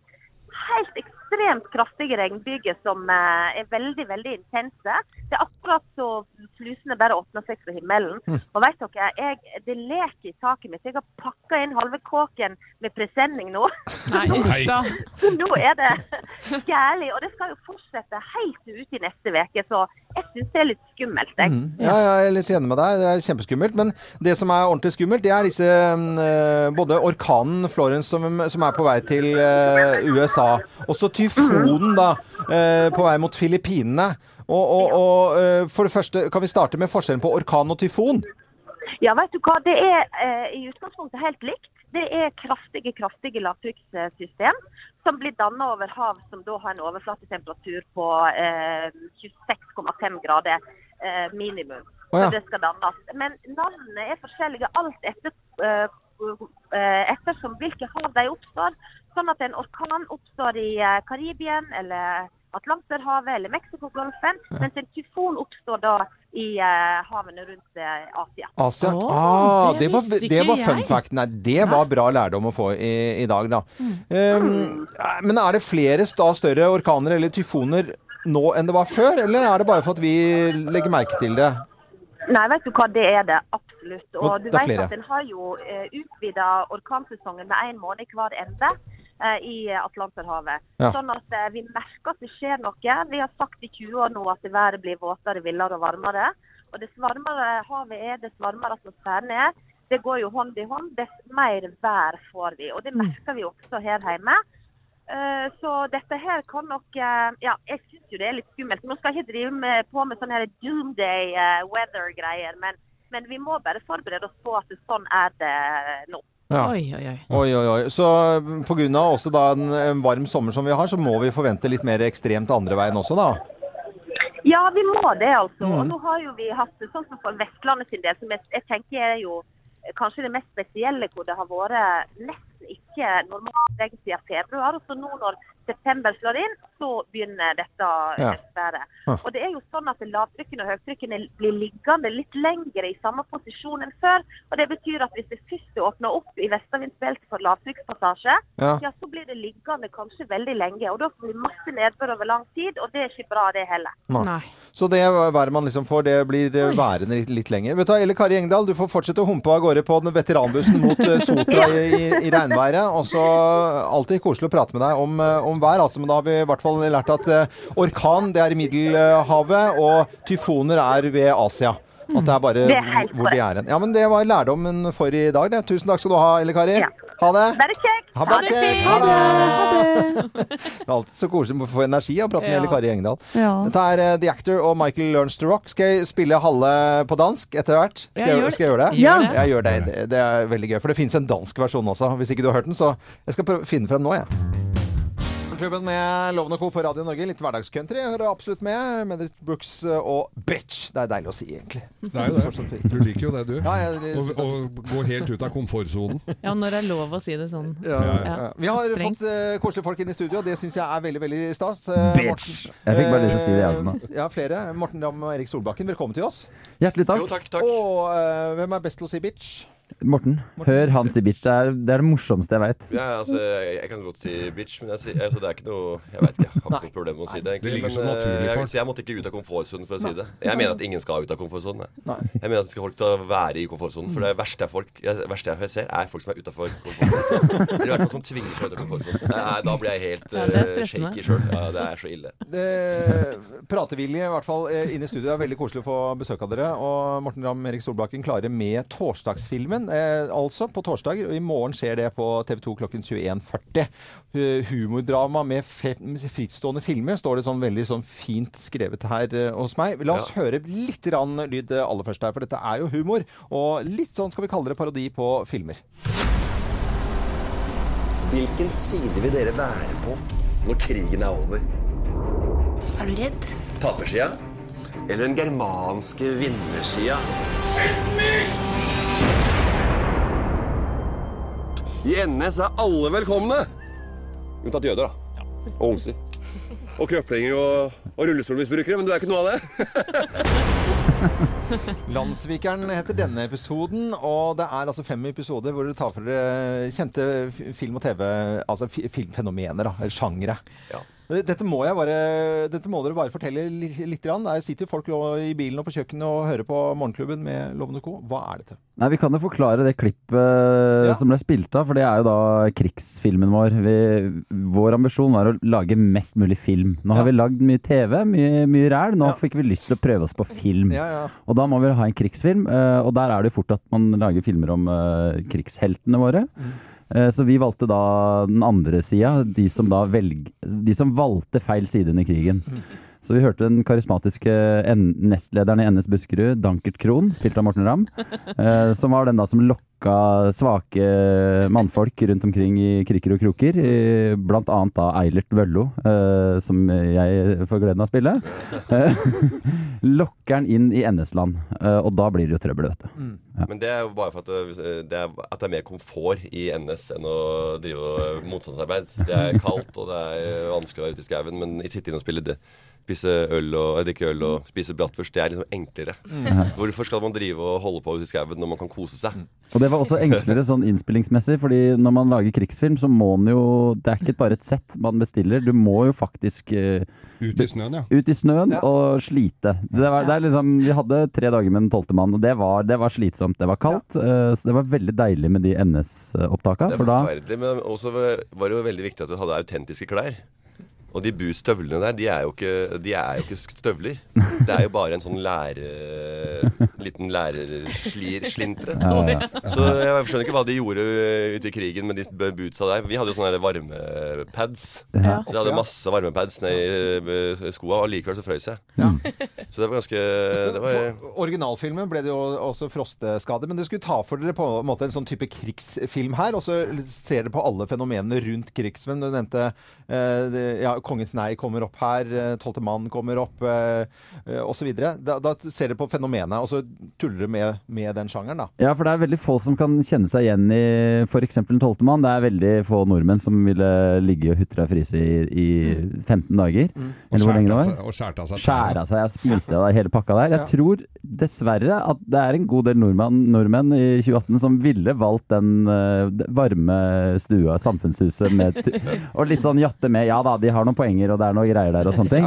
Speaker 20: helt ekstremt kraftige regnbyger som eh, er veldig, veldig intense. Det er akkurat så flusene bare åpner seg fra himmelen.
Speaker 1: Hm.
Speaker 21: Mm.
Speaker 20: Og vet dere, jeg, det leker i taket mitt. Jeg har pakka inn halve kåken med presenning nå.
Speaker 3: Nei, uff da.
Speaker 20: Så nå er det gærlig. Og det skal jo fortsette helt ut i neste uke, så jeg syns det er litt skummelt. Jeg.
Speaker 1: Mm. Ja, jeg er litt enig med deg. Det er kjempeskummelt. Men det som er ordentlig skummelt, det er disse eh, Både orkanen Florence som, som er på vei til eh, USA, og så tyfonen, da, eh, på vei mot Filippinene. Og, og, og eh, for det første, kan vi starte med forskjellen på orkan og tyfon?
Speaker 20: Ja, vet du hva. Det er eh, i utgangspunktet helt likt. Det er kraftige kraftige lavtrykkssystem som blir dannet over hav som da har en overflatetemperatur på eh, 26,5 grader eh, minimum.
Speaker 22: Å ja.
Speaker 20: Så det skal dannes. Men navnene er forskjellige alt etter, eh, eh, ettersom hvilke hav de oppstår. Sånn at en orkan oppstår i eh, Karibien eller Atlanterhavet eller Mexicogolfen, mens en tyfon oppstår da i eh, havene rundt eh, Asia.
Speaker 1: Asia.
Speaker 20: Å,
Speaker 1: ah,
Speaker 20: det
Speaker 1: det, var,
Speaker 20: visste ikke
Speaker 1: det var fun
Speaker 20: jeg.
Speaker 1: fact. Nei, det var bra lærdom å få i, i dag, da.
Speaker 20: Mm.
Speaker 1: Um, men er det flere da, større orkaner eller tyfoner nå enn det var før, eller er det bare for at vi legger merke til det?
Speaker 20: Nei, vet du hva, det er det absolutt.
Speaker 1: Og
Speaker 20: Og du
Speaker 1: det er
Speaker 20: vet
Speaker 1: flere.
Speaker 20: at en har jo eh, utvida orkansesongen med én måned hver ende eh, i Atlanterhavet.
Speaker 16: Ja.
Speaker 20: Sånn at eh, vi merker at det skjer noe. Vi har sagt i 20 år nå at været blir våtere, villere og varmere. Og dess varmere havet er, dess varmere atmosfæren er. Det går jo hånd i hånd. Dess mer vær får vi. Og det merker vi også her hjemme. Eh, Så dette her kan nok eh, Ja, jeg syns jo det er litt skummelt. Nå skal jeg ikke drive med, på med sånne her doomday eh, weather-greier, men, men vi må bare forberede oss på at det- sånn er det nå.
Speaker 1: Ja.
Speaker 3: Oi, oi, oi.
Speaker 1: Oi, oi, oi. Så pga. også da en en varm sommer som vi har, så må vi forvente litt mer ekstremt andre veien også, da.
Speaker 20: Ja, vi må det, altså. Og
Speaker 1: Mm.
Speaker 20: nå har jo vi hatt det sånn som for Vestlandet sin del, som jeg, jeg tenker er jo eh, kanskje det mest spesielle hvor det har vært nesten ikke normalt egentlig siden februar. Og så nå når september slår inn, så begynner dette
Speaker 16: Ja.
Speaker 20: været.
Speaker 16: Ja.
Speaker 20: Og det er jo sånn at lavtrykkene og høytrykkene blir liggende litt lengre i samme posisjon enn før. Og det betyr at hvis det først åpner opp i vestavindsbeltet for lavtrykkspassasje,
Speaker 16: Ja.
Speaker 20: ja, så blir det liggende kanskje veldig lenge. Og da får vi masse nedbør over lang tid, og det er ikke bra det heller.
Speaker 1: Så det været man liksom får, det blir eh, værende litt, litt lenger. Vet du, hva, Elle Kari Engdahl, du får fortsette å humpe av gårde på den veteranbussen mot eh, Sotra i, i, i regnværet. Og så eh, alltid koselig å prate med deg om, eh, om vær, altså. Men da har vi i hvert fall lært at eh, orkan, det er i Middelhavet, og tyfoner er ved Asia. At det er bare
Speaker 20: Det er helt
Speaker 1: hvor de er hen. Ja, men det var lærdommen for i dag, det. Tusen takk skal du ha, Elle Kari.
Speaker 20: Ja.
Speaker 1: Ha det.
Speaker 20: Bare kjekt.
Speaker 1: Ha det kjekt. Ha
Speaker 20: det.
Speaker 1: Det er alltid så koselig å få energi av å prate med
Speaker 20: Ja.
Speaker 1: Elle Kari Engdahl.
Speaker 20: Ja.
Speaker 1: Dette er eh, The Actor og Michael Learns to Rock. Skal jeg spille halve på dansk etter hvert? Skal,
Speaker 19: Ja, gjør
Speaker 1: jeg-
Speaker 19: det.
Speaker 1: skal jeg gjøre det?
Speaker 19: Gjør det.
Speaker 1: Jeg gjør det. det. Det er veldig gøy, for det fins en dansk versjon også. Hvis ikke du har hørt den, så jeg skal prøve å finne frem nå, jeg. Klubben med Loven og Co. på Radio Norge, litt hverdagscountry. Jeg hører absolutt med. Medrit Brooks eh, og Bitch. Det er deilig å si, egentlig.
Speaker 2: Det er jo det. Du liker jo det, du. Å å gå helt ut av komfortsonen.
Speaker 3: Ja, når det er lov å si det sånn.
Speaker 1: Ja, ja, ja. Vi har
Speaker 3: Strengt.
Speaker 1: fått eh, koselige folk inn i studio, og det syns jeg er veldig veldig stas. Eh,
Speaker 21: Bitch. Jeg fikk bare lyst til å si det, jeg også nå.
Speaker 1: Eh, Ja, flere. Morten Ramm og Erik Solbakken, velkommen til oss.
Speaker 21: Hjertelig takk.
Speaker 1: Og eh, hvem er best til å si bitch?
Speaker 21: Morten, hør han si bitch. Det er det, er det morsomste jeg veit.
Speaker 22: Ja, altså, jeg, jeg kan godt si bitch, men jeg, sier- altså, det er ikke noe Jeg vet ikke, jeg har ikke noe problem med å si det.
Speaker 2: Det
Speaker 22: egentlig
Speaker 2: ligger så
Speaker 22: men, eh,
Speaker 2: naturlig for
Speaker 22: jeg,
Speaker 2: han.
Speaker 22: så jeg måtte ikke ut av komfortsonen for å si det.
Speaker 2: Nei.
Speaker 22: Jeg mener at ingen skal ut av komfortsonen. jeg. Jeg mener at skal folk skal være i komfortsonen. For det verste jeg, folk, det verste jeg ser, er folk som er utafor komfortsonen. Eller i hvert fall som tvinger seg ut av komfortsonen. Nei, Da blir jeg helt
Speaker 1: Ja, det er
Speaker 22: eh,
Speaker 1: stressende.
Speaker 22: shaky sjøl. Ja, det er så ille.
Speaker 1: Eh, pratevilje, i hvert fall eh, inne i studio. Det er veldig koselig å få besøk av dere. Og Morten Ramm Erik Solbakken klare med torsdagsfilmen. Eh, altså på torsdag. Og I morgen skjer det på TV 2 klokken 21.40. Eh, humordrama med fe- med frittstående filmer, står det sånn veldig sånn fint skrevet her eh, hos meg. La oss høre litt grann lyd eh, aller først her, for dette er jo humor. Og litt sånn skal vi kalle det parodi på filmer.
Speaker 9: Hvilken side vil dere være på når krigen er over?
Speaker 18: Er du redd?
Speaker 9: Tapersida? Eller den germanske vinnersida? I NS er alle velkomne! Unntatt jøder, da. Og homser. Og krøplinger og, og rullestolmisbrukere, men du er ikke noe av det.
Speaker 1: Landssvikeren heter denne episoden, og det er altså fem episoder hvor dere tar for dere kjente f- film- og TV, altså fi- filmfenomener, da, eller sjangere. Dette må, jeg bare, dette må dere bare fortelle litt. litt grann. Der sitter folk nå i bilen og på kjøkkenet og hører på Morgenklubben med Loven og Co. Hva er dette?
Speaker 21: Nei, Vi kan jo forklare det klippet som ble spilt av, for det er jo da krigsfilmen vår. Vi, vår ambisjon var å lage mest mulig film. Nå har vi lagd mye TV, mye, mye ræl. Nå fikk vi lyst til å prøve oss på film.
Speaker 1: Ja, ja.
Speaker 21: Og da må vi ha en krigsfilm, eh, og der er det jo fort at man lager filmer om eh, krigsheltene våre. Eh, Så vi valgte da den andre sida, de som da velg... De som valgte feil side under krigen. Så vi hørte den karismatiske N- nestlederen i NS Buskerud, Dankert Krohn, spilt av Morten Ramm, eh, som var den da som lokka plukka svake eh, mannfolk rundt omkring i kriker og kroker. eh, Blant annet da Eilert Vøllo, eh, som jeg får gleden av å spille. Eh, Lokker han inn i NS-land, eh, og da blir det jo trøbbel, vet du.
Speaker 22: Men det er jo bare for at eh, det, det er, at det er mer komfort i NS enn å drive eh, motstandsarbeid. Det er kaldt og det er eh, vanskelig å være ute i skauen, men i sitte inne og spille det. Spise øl og eh, drikke øl og spise bratwurst, det er liksom enklere.
Speaker 21: Mm.
Speaker 22: Hvorfor skal man drive og holde på ute i skauen når man kan kose seg?
Speaker 21: Og det var også enklere sånn innspillingsmessig, fordi når man lager krigsfilm, så må man jo Det er ikke bare et sett man bestiller, du må jo faktisk eh,
Speaker 2: Ut i snøen, ja.
Speaker 21: Ut i snøen og slite. Det var, det er liksom, vi hadde tre dager med den tolvte mannen, og det var, det var slitsomt. Det var kaldt, eh, så det var veldig deilig med de NS-opptaka.
Speaker 22: Det er
Speaker 21: For da
Speaker 22: forferdelig, men også var det jo veldig viktig at du hadde autentiske klær. Og de bu-støvlene der, de er, jo ikke, de er jo ikke støvler. Det er jo bare en sånn lærer... Liten lærerslintre.
Speaker 21: Ja, ja.
Speaker 22: Så jeg skjønner ikke hva de gjorde ute i krigen med de b- bootsa der. Vi hadde jo sånne der varmepads.
Speaker 21: Ja.
Speaker 22: Så jeg hadde masse varmepads nedi skoa, og likevel så frøs jeg. Så det var ganske Eh, Det var
Speaker 1: For originalfilmen ble det jo også frosteskade, men det skulle ta for dere på en måte en sånn type krigsfilm her, og så ser dere på alle fenomenene rundt krigsfilmen. Du nevnte eh, det- ja, 'Kongens nei' kommer opp her, eh, 'Tolvte mann' kommer opp, eh, eh, osv. Da, da ser dere på fenomenet, og så tuller dere med, med den sjangeren, da.
Speaker 21: Ja, for det er veldig få som kan kjenne seg igjen i f.eks. Den tolvte mann. Det er veldig få nordmenn som ville ligge og hutre og fryse i, i
Speaker 22: Mm.
Speaker 21: 15 dager.
Speaker 2: Og
Speaker 21: Eller hvor lenge det
Speaker 2: skjært av
Speaker 21: var.
Speaker 2: seg- og skjært av seg
Speaker 21: Skjære av seg og spise av hele pakka der. Jeg tror dessverre at det er en god del nordmenn, nordmenn i 2018 som ville valgt den eh, d- varme stua, samfunnshuset, med t og litt sånn jatte med Ja da, de har noen poenger, og det er noe greier der, og sånne ting.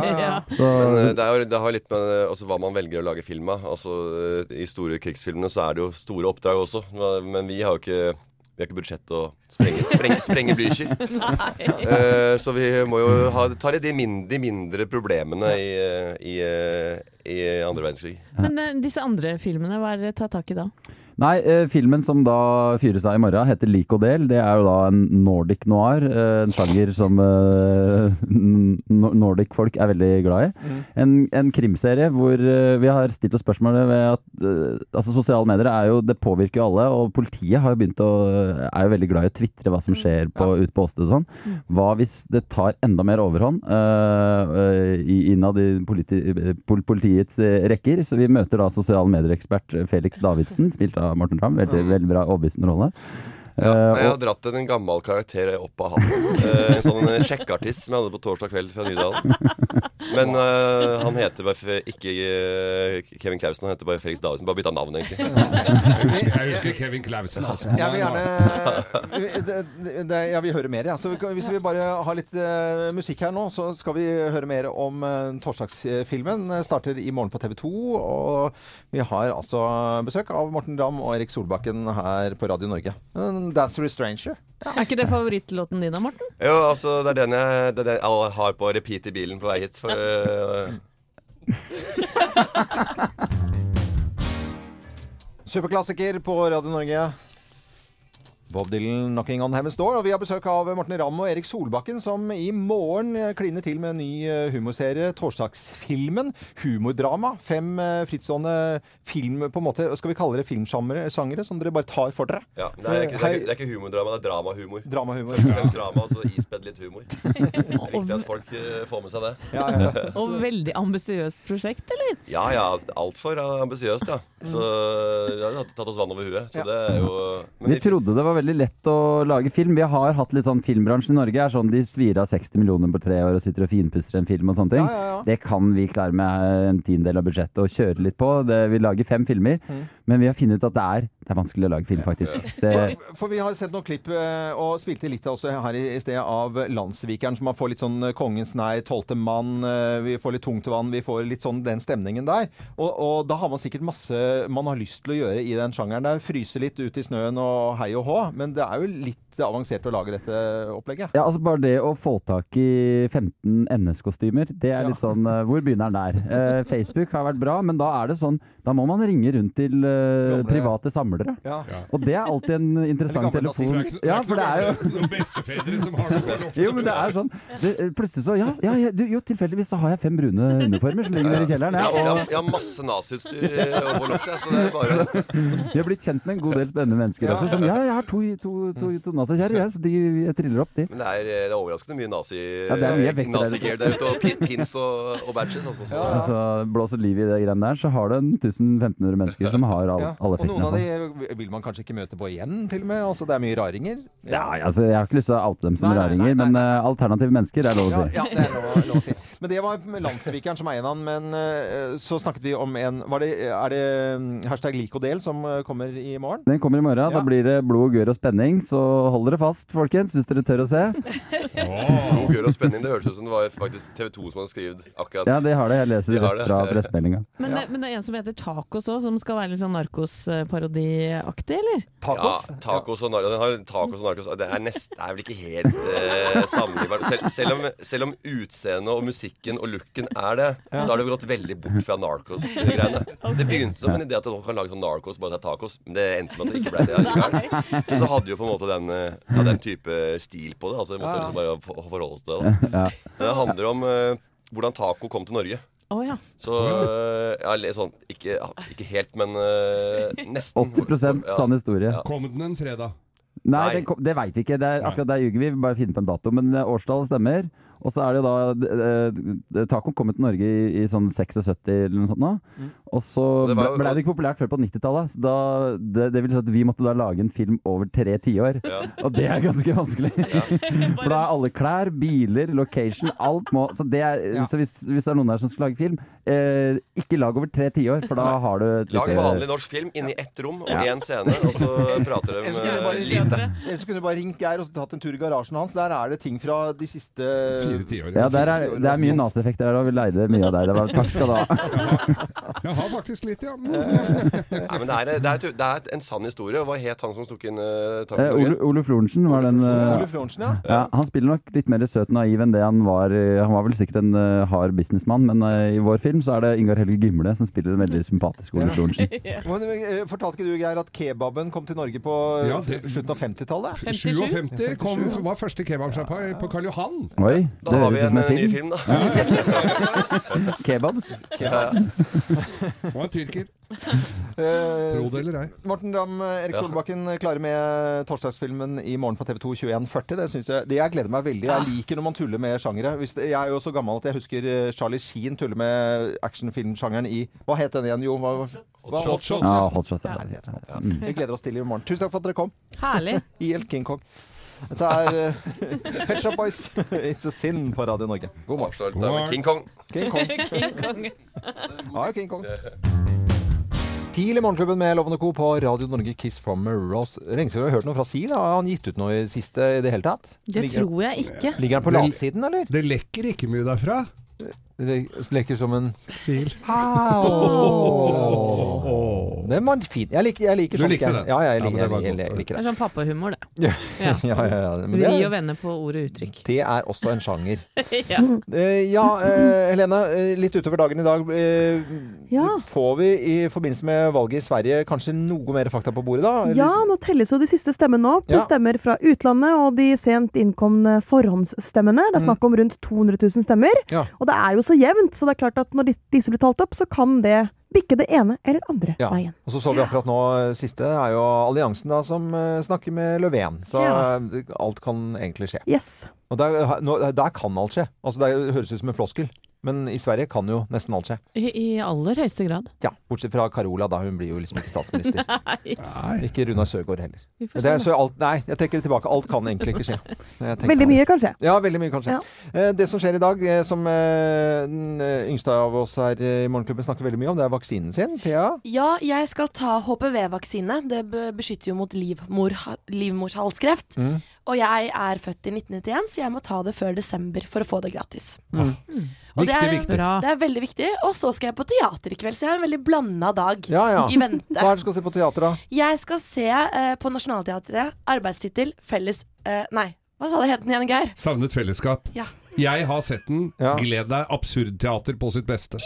Speaker 21: Så
Speaker 22: Men eh, det, er, jo- det har litt med eh, altså, hva man velger å lage film av. Altså, eh, I store krigsfilmene så er det jo store oppdrag også, men- men vi har jo ikke vi har ikke budsjett til å sprenge, sprenge, sprenge Blücher.
Speaker 16: Nei.
Speaker 22: Eh, så vi må jo ha, ta i de mindre, de mindre problemene i, eh, i, eh, i andre verdenskrig.
Speaker 3: Men eh, disse andre filmene, hva er det ta tak i da?
Speaker 21: Nei, eh, filmen som da fyres av i morgen heter Lik og del. Det er jo da en nordic noir. Eh, en sjanger som eh, n- no- nordic-folk er veldig glad i. En, en krimserie hvor eh, vi har stilt oss spørsmålet ved at eh, Altså, sosiale medier er jo Det påvirker jo alle, og politiet har jo begynt å er jo veldig glad i å tvitre hva som skjer på, ute på åstedet og sånn. Hva hvis det tar enda mer overhånd eh, eh, i- innad i politi, pol, politiets eh, rekker? Så vi møter da sosiale medieekspert Felix Davidsen, spilt av Morten Ramm. Veldig, veldig bra overbevisende rolle. Eh,
Speaker 22: Jeg har
Speaker 21: og-
Speaker 22: dratt en gammel karakter opp av hatten. Eh, En sånn eh, sjekkeartist som jeg hadde på torsdag kveld fra Nydalen. Men eh, han heter bare fe- ikke eh, Kevin Clausen, han heter bare Felix Davidsen. Bare bytta navn, egentlig.
Speaker 2: Jeg husker, jeg husker Kevin Clausen, altså.
Speaker 22: Jeg vil
Speaker 1: gjerne- det, det, jeg vil høre mer, ja. Så vi kan- hvis vi bare har litt eh, musikk her nå, så skal vi høre mer om eh, torsdagsfilmen. Eh, Starter i morgen på TV 2, og vi har altså besøk av Morten Ramm og Erik Solbakken her på Radio Norge. En Dance with a Stranger.
Speaker 3: Er ikke det favorittlåten din da, Morten?
Speaker 22: Jo, altså, det er den jeg, det er den jeg har på repeat i bilen på vei hit. For, eh,
Speaker 1: Superklassiker på Radio Norge. Bob Dylan, 'Knocking on Heaven's Door'. Og vi har besøk av Morten Ramm og Erik Solbakken, som i morgen eh, kliner til med en ny eh, humorserie, Torsdagsfilmen. Humordrama. Fem eh, frittstående film, på en måte, skal vi kalle det filmsjangere, sjangere, som dere bare tar for dere.
Speaker 22: ja, det, er ikke, det, er ikke, det er ikke humordrama, det er dramahumor.
Speaker 1: Dramahumor.
Speaker 22: Først og fremst drama, og så ispedd litt humor. Det er viktig at folk eh, får med seg det.
Speaker 1: Ja,
Speaker 3: Og veldig ambisiøst prosjekt, eller?
Speaker 22: ja, ja altfor ambisiøst, ja. Så ja, det har tatt oss vann over huet. Så det er jo men
Speaker 21: Vi trodde det var veldig lett å lage film. Vi har hatt litt sånn Filmbransjen i Norge er sånn de svir av 60 millioner på tre år og sitter og finpusser en film og sånne ting. Det kan vi klare med en tiendedel av budsjettet og kjøre litt på. Det, vi lager fem filmer, men vi har funnet ut at det er, det er vanskelig å lage film, faktisk. Det,
Speaker 1: For, for vi har sett noen klipp, eh, og spilte litt også her i, i sted, av Landssvikeren, som man får litt sånn eh, Kongens nei, Tolvte mann, eh, vi får litt tungt vann, vi får litt sånn den stemningen der. Og, og da har man sikkert masse man har lyst til å gjøre i den sjangeren der. Fryse litt ut i snøen og hei og hå, men det er jo litt litt avansert å lage dette opplegget.
Speaker 21: Ja, altså Bare det å få tak i 15 NS-kostymer, det er litt sånn eh, Hvor begynner den der? Eh, Facebook har vært bra, men da er det sånn Da må man ringe rundt til eh, private samlere.
Speaker 1: Ja.
Speaker 21: Og det er alltid en interessant
Speaker 2: Eller gamle
Speaker 21: telefon.
Speaker 2: nazister.
Speaker 21: Ja, for det er jo
Speaker 2: Noen bestefedre som har noe lov til
Speaker 21: jo, men det er sånn det, Plutselig så Ja, ja, ja du, jo, tilfeldigvis så har jeg fem brune uniformer som ligger nede i kjelleren.
Speaker 22: Jeg,
Speaker 21: Ja,
Speaker 22: har-
Speaker 21: og
Speaker 22: jeg har masse naziutstyr eh, på loftet, jeg, så det er bare
Speaker 21: vi har blitt kjent med en god del spennende mennesker også, som Ja, jeg har to, to, to, to nazikjerrer, jeg, så de, jeg triller opp, de.
Speaker 22: Men det er, det er overraskende mye nazi
Speaker 21: Ja, det er mye vekk der
Speaker 22: nazi
Speaker 21: ute.
Speaker 22: der ute. Og pin- pins og, og badges, altså. Så.
Speaker 21: Altså, blåser liv i det greiene der, så har du en 1500 mennesker som har all,
Speaker 1: Ja.
Speaker 21: alle
Speaker 1: Og noen
Speaker 21: effektene.
Speaker 1: av
Speaker 21: Altså.
Speaker 1: de vil man kanskje ikke møte på igjen, til og med. Altså, det er mye raringer.
Speaker 21: Ja, altså, jeg har ikke lyst til å oute dem som raringer, men eh, alternative mennesker er lov å si.
Speaker 1: Ja, det er lov, lov å si. Men det var med landssvikeren som eier han, men eh, så snakket vi om en var det, Er det eh, hashtag lik og del som eh, kommer i morgen?
Speaker 21: Den kommer i morgen. Da blir det blod, gørr og spenning. Så hold dere fast, folkens, hvis dere tør å se.
Speaker 22: God gørr og spenning. Det høres ut som det var faktisk TV 2 som hadde skrevet akkurat
Speaker 21: Ja, det har det. Jeg
Speaker 22: De
Speaker 21: leser
Speaker 22: har
Speaker 21: rett
Speaker 22: det.
Speaker 21: fra pressemeldinga.
Speaker 3: Men, det, men det er en som heter Tacos òg, som skal være litt sånn narkosparodiaktig, eller?
Speaker 22: Ja, tacos og narkos. Den har tacos og narkos. Det er, nest, det er vel ikke helt eh, sammenlignbart. Selv, selv om, selv om utseendet og musikken og looken er det, så har det gått veldig bort fra narkos-greiene. Det begynte som en idé at man kan lage sånn narkos bare det er tacos, men det endte med at det ikke ble det allikevel. Men så hadde vi jo på en måte den, eh, ja, den type stil på det. Altså, vi måtte liksom bare for- forholde oss til det. Da.
Speaker 21: Ja.
Speaker 22: Men det handler om eh, hvordan taco kom til Norge.
Speaker 3: Å ja.
Speaker 22: Så eh, ja, litt sånn, ikke, ja, ikke helt, men eh, nesten.
Speaker 21: 80%
Speaker 22: Ja.
Speaker 21: sann historie.
Speaker 2: Kom den en fredag?
Speaker 21: Nei, den kom, det veit vi ikke. Det er, akkurat der ljuger vi. Vi bare finner på en dato. Men eh, årstallet stemmer. Og så er det jo da eh, eh, Tacoen kom til Norge i, i sånn 76 eller noe sånt nå. Og så
Speaker 22: Mm. Og det
Speaker 21: ble
Speaker 22: var jo-
Speaker 21: ble det ikke populært før på 90-tallet. så da- Det, det vil si at vi måtte da lage en film over tre tiår. Og det er ganske vanskelig. For da er alle klær, biler, location, alt må Så, det er, så hvis, hvis det er noen her som skal lage film, eh, ikke lag over tre tiår, for da har du et
Speaker 22: Lag
Speaker 21: lite-
Speaker 22: vanlig norsk film inni ett rom og
Speaker 21: Ja.
Speaker 22: én scene, og så prater de
Speaker 1: Ellers kunne, du
Speaker 22: eh,
Speaker 1: bare,
Speaker 22: lite.
Speaker 1: ellers kunne du bare ringt Geir og tatt en tur i garasjen hans. Der er det ting fra de siste
Speaker 2: Fire tiår,
Speaker 21: Ja, der er, det er mye nazieffekter her, og vi leide mye av deg. Det var, takk skal du ha.
Speaker 2: Jeg har faktisk litt, ja.
Speaker 1: Eh,
Speaker 22: Nei, men det er, det, er, tu- det er en sann historie. Hva het han som tok inn uh,
Speaker 21: Eh, Ole, Ole Florensen var den eh,
Speaker 1: Ole Florensen, ja.
Speaker 21: Han spiller nok litt mer søt naiv enn det han var. eh, Han var vel sikkert en eh, hard businessmann, men eh, i vår film så er det Ingar Helge Gimle som spiller en veldig sympatisk Ole Florensen.
Speaker 1: Men, eh, fortalte ikke du, Geir, at kebaben kom til Norge på
Speaker 2: Ja,
Speaker 1: eh, slutten av 50-tallet?
Speaker 2: 57 kom, var første kebabsjappa på Karl Johan.
Speaker 21: Oi,
Speaker 2: Da
Speaker 21: det
Speaker 2: har vi
Speaker 21: høres ut som
Speaker 2: en,
Speaker 21: en
Speaker 2: eh, ny
Speaker 21: film.
Speaker 2: film, da.
Speaker 21: Kebabs.
Speaker 1: Kebabs.
Speaker 2: Og en tyrker.
Speaker 1: Eh,
Speaker 2: Tro det eller ei.
Speaker 1: Morten
Speaker 2: eh,
Speaker 1: Ramm, Erik
Speaker 2: Ja.
Speaker 1: Solbakken eh, klarer med torsdagsfilmen i morgen på TV 2 21.40. Det synes jeg, det jeg gleder meg veldig. Jeg liker når man tuller med sjangere. Hvis det, jeg er jo så gammel at jeg husker eh, Charlie Sheen tulle med actionfilmsjangeren i Hva het den igjen, jo? Hva, hva,
Speaker 21: Hot Shots. Ja, Hot Shots, ja. Mm.
Speaker 1: Ja, det er hot. Vi gleder oss til i morgen. Tusen takk for at dere kom.
Speaker 3: Herlig.
Speaker 1: IL King Kong. Dette er eh, Pet Shop Boys, It's a Sin på Radio Norge. God morgen.
Speaker 22: Avslørt der med King Kong.
Speaker 1: King Kong.
Speaker 22: King Kong.
Speaker 1: Ja, King Kong. TIL i Morgenklubben med Lovende Co. på Radio Norge, Kiss from a Rose. Lenge siden vi har hørt noe fra SIL. Har han gitt ut noe i det siste i det hele tatt?
Speaker 3: Det tror jeg ikke.
Speaker 1: Ligger han på latsiden, eller?
Speaker 2: Det lekker ikke mye derfra.
Speaker 1: Det leker som en
Speaker 2: Sil.
Speaker 1: Au. Den var fin. Jeg liker, jeg liker
Speaker 2: Du
Speaker 1: sånn,
Speaker 2: likte
Speaker 1: jeg-
Speaker 2: den?
Speaker 1: Ja, ja, jeg
Speaker 2: Ja,
Speaker 1: liker,
Speaker 2: men det
Speaker 1: jeg,
Speaker 2: var
Speaker 1: jeg, jeg
Speaker 2: godt.
Speaker 1: liker
Speaker 3: Det
Speaker 1: det.
Speaker 3: er sånn pappahumor, det.
Speaker 1: Ja, ja, ja. Men
Speaker 3: Vri
Speaker 1: det,
Speaker 3: og vende på ord og uttrykk.
Speaker 1: det er også en sjanger.
Speaker 3: ja.
Speaker 1: Eh, ja, eh, Helene. eh, Litt utover dagen i dag. Eh, Får vi i forbindelse med valget i Sverige kanskje noe mer fakta på bordet da? Eller-
Speaker 16: Ja, nå telles jo de siste stemmene opp.
Speaker 1: Ah, Ja.
Speaker 16: Stemmer fra utlandet og de sent innkomne forhåndsstemmene. Det er snakk om rundt 200 000 stemmer.
Speaker 1: Mm. Ja.
Speaker 16: Og det er jo så jevnt, så det er klart at når de- disse blir talt opp, så kan det bikke det ene eller andre
Speaker 1: Ja.
Speaker 16: veien.
Speaker 1: Og så så vi akkurat nå eh, siste, er jo alliansen da som eh, snakker med Løfven. Så
Speaker 16: Ja.
Speaker 1: eh, alt kan egentlig skje.
Speaker 16: Yes.
Speaker 1: Og der, ha- nå, eh, der kan alt skje. Altså Det er- høres ut som en floskel, men i Sverige kan jo nesten alt skje.
Speaker 3: I, I aller høyeste grad.
Speaker 1: Ja, Bortsett fra Carola, da. Hun blir jo liksom ikke statsminister. Ikke Runa Søgaard heller.
Speaker 16: Vi får
Speaker 1: Det er,
Speaker 16: se,
Speaker 1: så alt, nei, jeg trekker det tilbake. Alt kan egentlig ikke skje. Jeg tenker-
Speaker 16: Veldig mye, kanskje.
Speaker 1: Ja, veldig mye, kanskje. Eh, Det som skjer i dag, eh, som eh, den eh, yngste av oss her eh, i Morgenklubben snakker veldig mye om, det er vaksinen sin. Thea?
Speaker 5: Ja, jeg skal ta HPV-vaksine. Det be- beskytter jo mot livmor, livmorshalskreft.
Speaker 1: Mm.
Speaker 5: Og jeg er født i 1991, så jeg må ta det før desember for å få det gratis.
Speaker 1: Mm.
Speaker 5: Og det er,
Speaker 1: viktig, viktig. Bra.
Speaker 5: det er veldig viktig. Og så skal jeg på teater i kveld, så jeg har en veldig blanda dag
Speaker 1: Ja, ja.
Speaker 5: i vente.
Speaker 1: Hva er det du skal se på teater, da?
Speaker 5: Jeg skal se eh, på Nationaltheatret arbeidstittel felles eh, Nei, hva sa det het den igjen, Geir?
Speaker 2: Savnet fellesskap.
Speaker 5: Ja.
Speaker 2: Jeg har sett den. Gled deg. Absurdteater på sitt beste.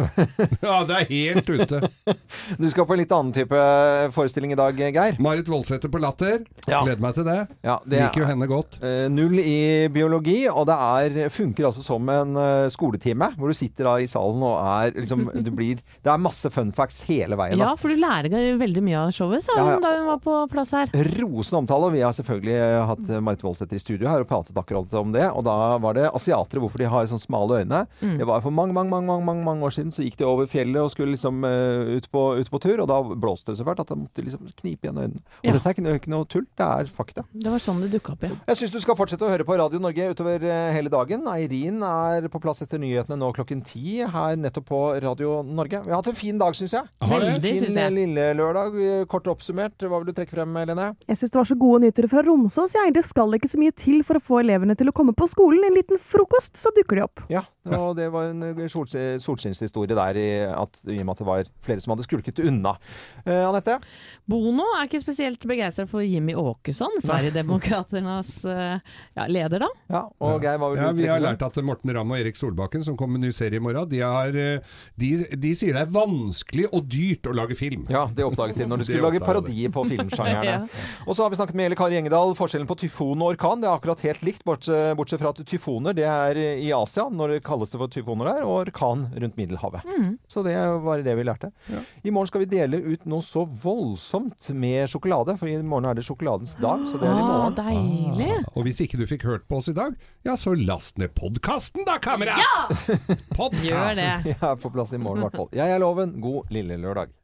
Speaker 2: ja, det er helt ute.
Speaker 1: Du skal på en litt annen type eh, forestilling i dag, Geir.
Speaker 2: Marit Voldsæter på Latter. Gleder meg til det.
Speaker 1: Ja, eh,
Speaker 2: Liker jo henne godt.
Speaker 1: Null i biologi, og det er, funker altså som en eh, skoletime. Hvor du sitter da i salen og er liksom du blir, Det er masse fun facts hele veien.
Speaker 3: Ja,
Speaker 1: Da.
Speaker 3: for du lærer veldig mye av showet, sa
Speaker 1: Ja, ja.
Speaker 3: hun da hun var på plass her.
Speaker 1: Rosende omtale, og vi har selvfølgelig hatt Marit Voldsæter i studio her og pratet akkurat om det. Og da var det asiatere, hvorfor de har sånn smale øyne.
Speaker 4: Mm.
Speaker 1: Det var for mange, mange, mange, mange, mange, mange år siden, så gikk de over fjellet og skulle liksom eh, ut, på, ut på tur, og da blåste det så fælt at de måtte liksom knipe igjen øynene. Og
Speaker 3: Ja.
Speaker 1: dette er ikke, noe- ikke noe tull, det er fakta.
Speaker 3: Det var sånn det dukka opp, ja.
Speaker 1: Jeg syns du skal fortsette å høre på Radio Norge utover eh, hele dagen. Eirin er på plass etter nyhetene nå klokken ti her nettopp på Radio Norge. Vi har hatt en fin dag, syns jeg.
Speaker 16: Har det? Veldig,
Speaker 1: Fin
Speaker 16: synes jeg.
Speaker 1: lille lørdag. Vi- Kort oppsummert, hva vil du trekke frem, Lene?
Speaker 16: Jeg syns det var så gode nyheter fra Romsås. Jeg. Det skal ikke så mye til for å få elevene til å komme på skolen. En liten frokost, så dukker de opp.
Speaker 1: Ja, og det var en eh, sols solskinnshistorie der i, at, i og med at det var flere som hadde skulket unna. Eh, Anette?
Speaker 3: Bono er ikke spesielt begeistra for Jimmy Åkesson, Sverigedemokraternas eh, ja, leder, da.
Speaker 1: Og Geir, hva vil du
Speaker 2: ja, Vi
Speaker 1: trekke
Speaker 2: har
Speaker 1: frem?
Speaker 2: lært at Morten Ramm og Erik Solbakken, som kommer med ny serie i morgen, de, har, eh, de, de sier det er vanskelig og dyrt å lage film.
Speaker 1: Ja, det oppdaget de når de skulle lage parodier på filmsjangerne.
Speaker 2: Ja.
Speaker 1: Og så har vi snakket med Eli Kari Engedal. Forskjellen på tyfon og orkan det er akkurat helt likt, bortsett, bortsett fra at tyfoner det er i Asia, når det kalles det for tyfoner der, og orkan rundt Middelhavet.
Speaker 4: Mhm.
Speaker 3: Mm.
Speaker 1: Så det var det vi lærte. I morgen skal vi dele ut noe så voldsomt med sjokolade, for i morgen er det sjokoladens dag, så det er i morgen.
Speaker 3: deilig.
Speaker 2: Ah, Og hvis ikke du fikk hørt på oss i dag, ja, så last ned podkasten da, kamerat! Podcast.
Speaker 1: Jeg er på plass i morgen i hvert fall. Jeg er Loven. God lille lørdag.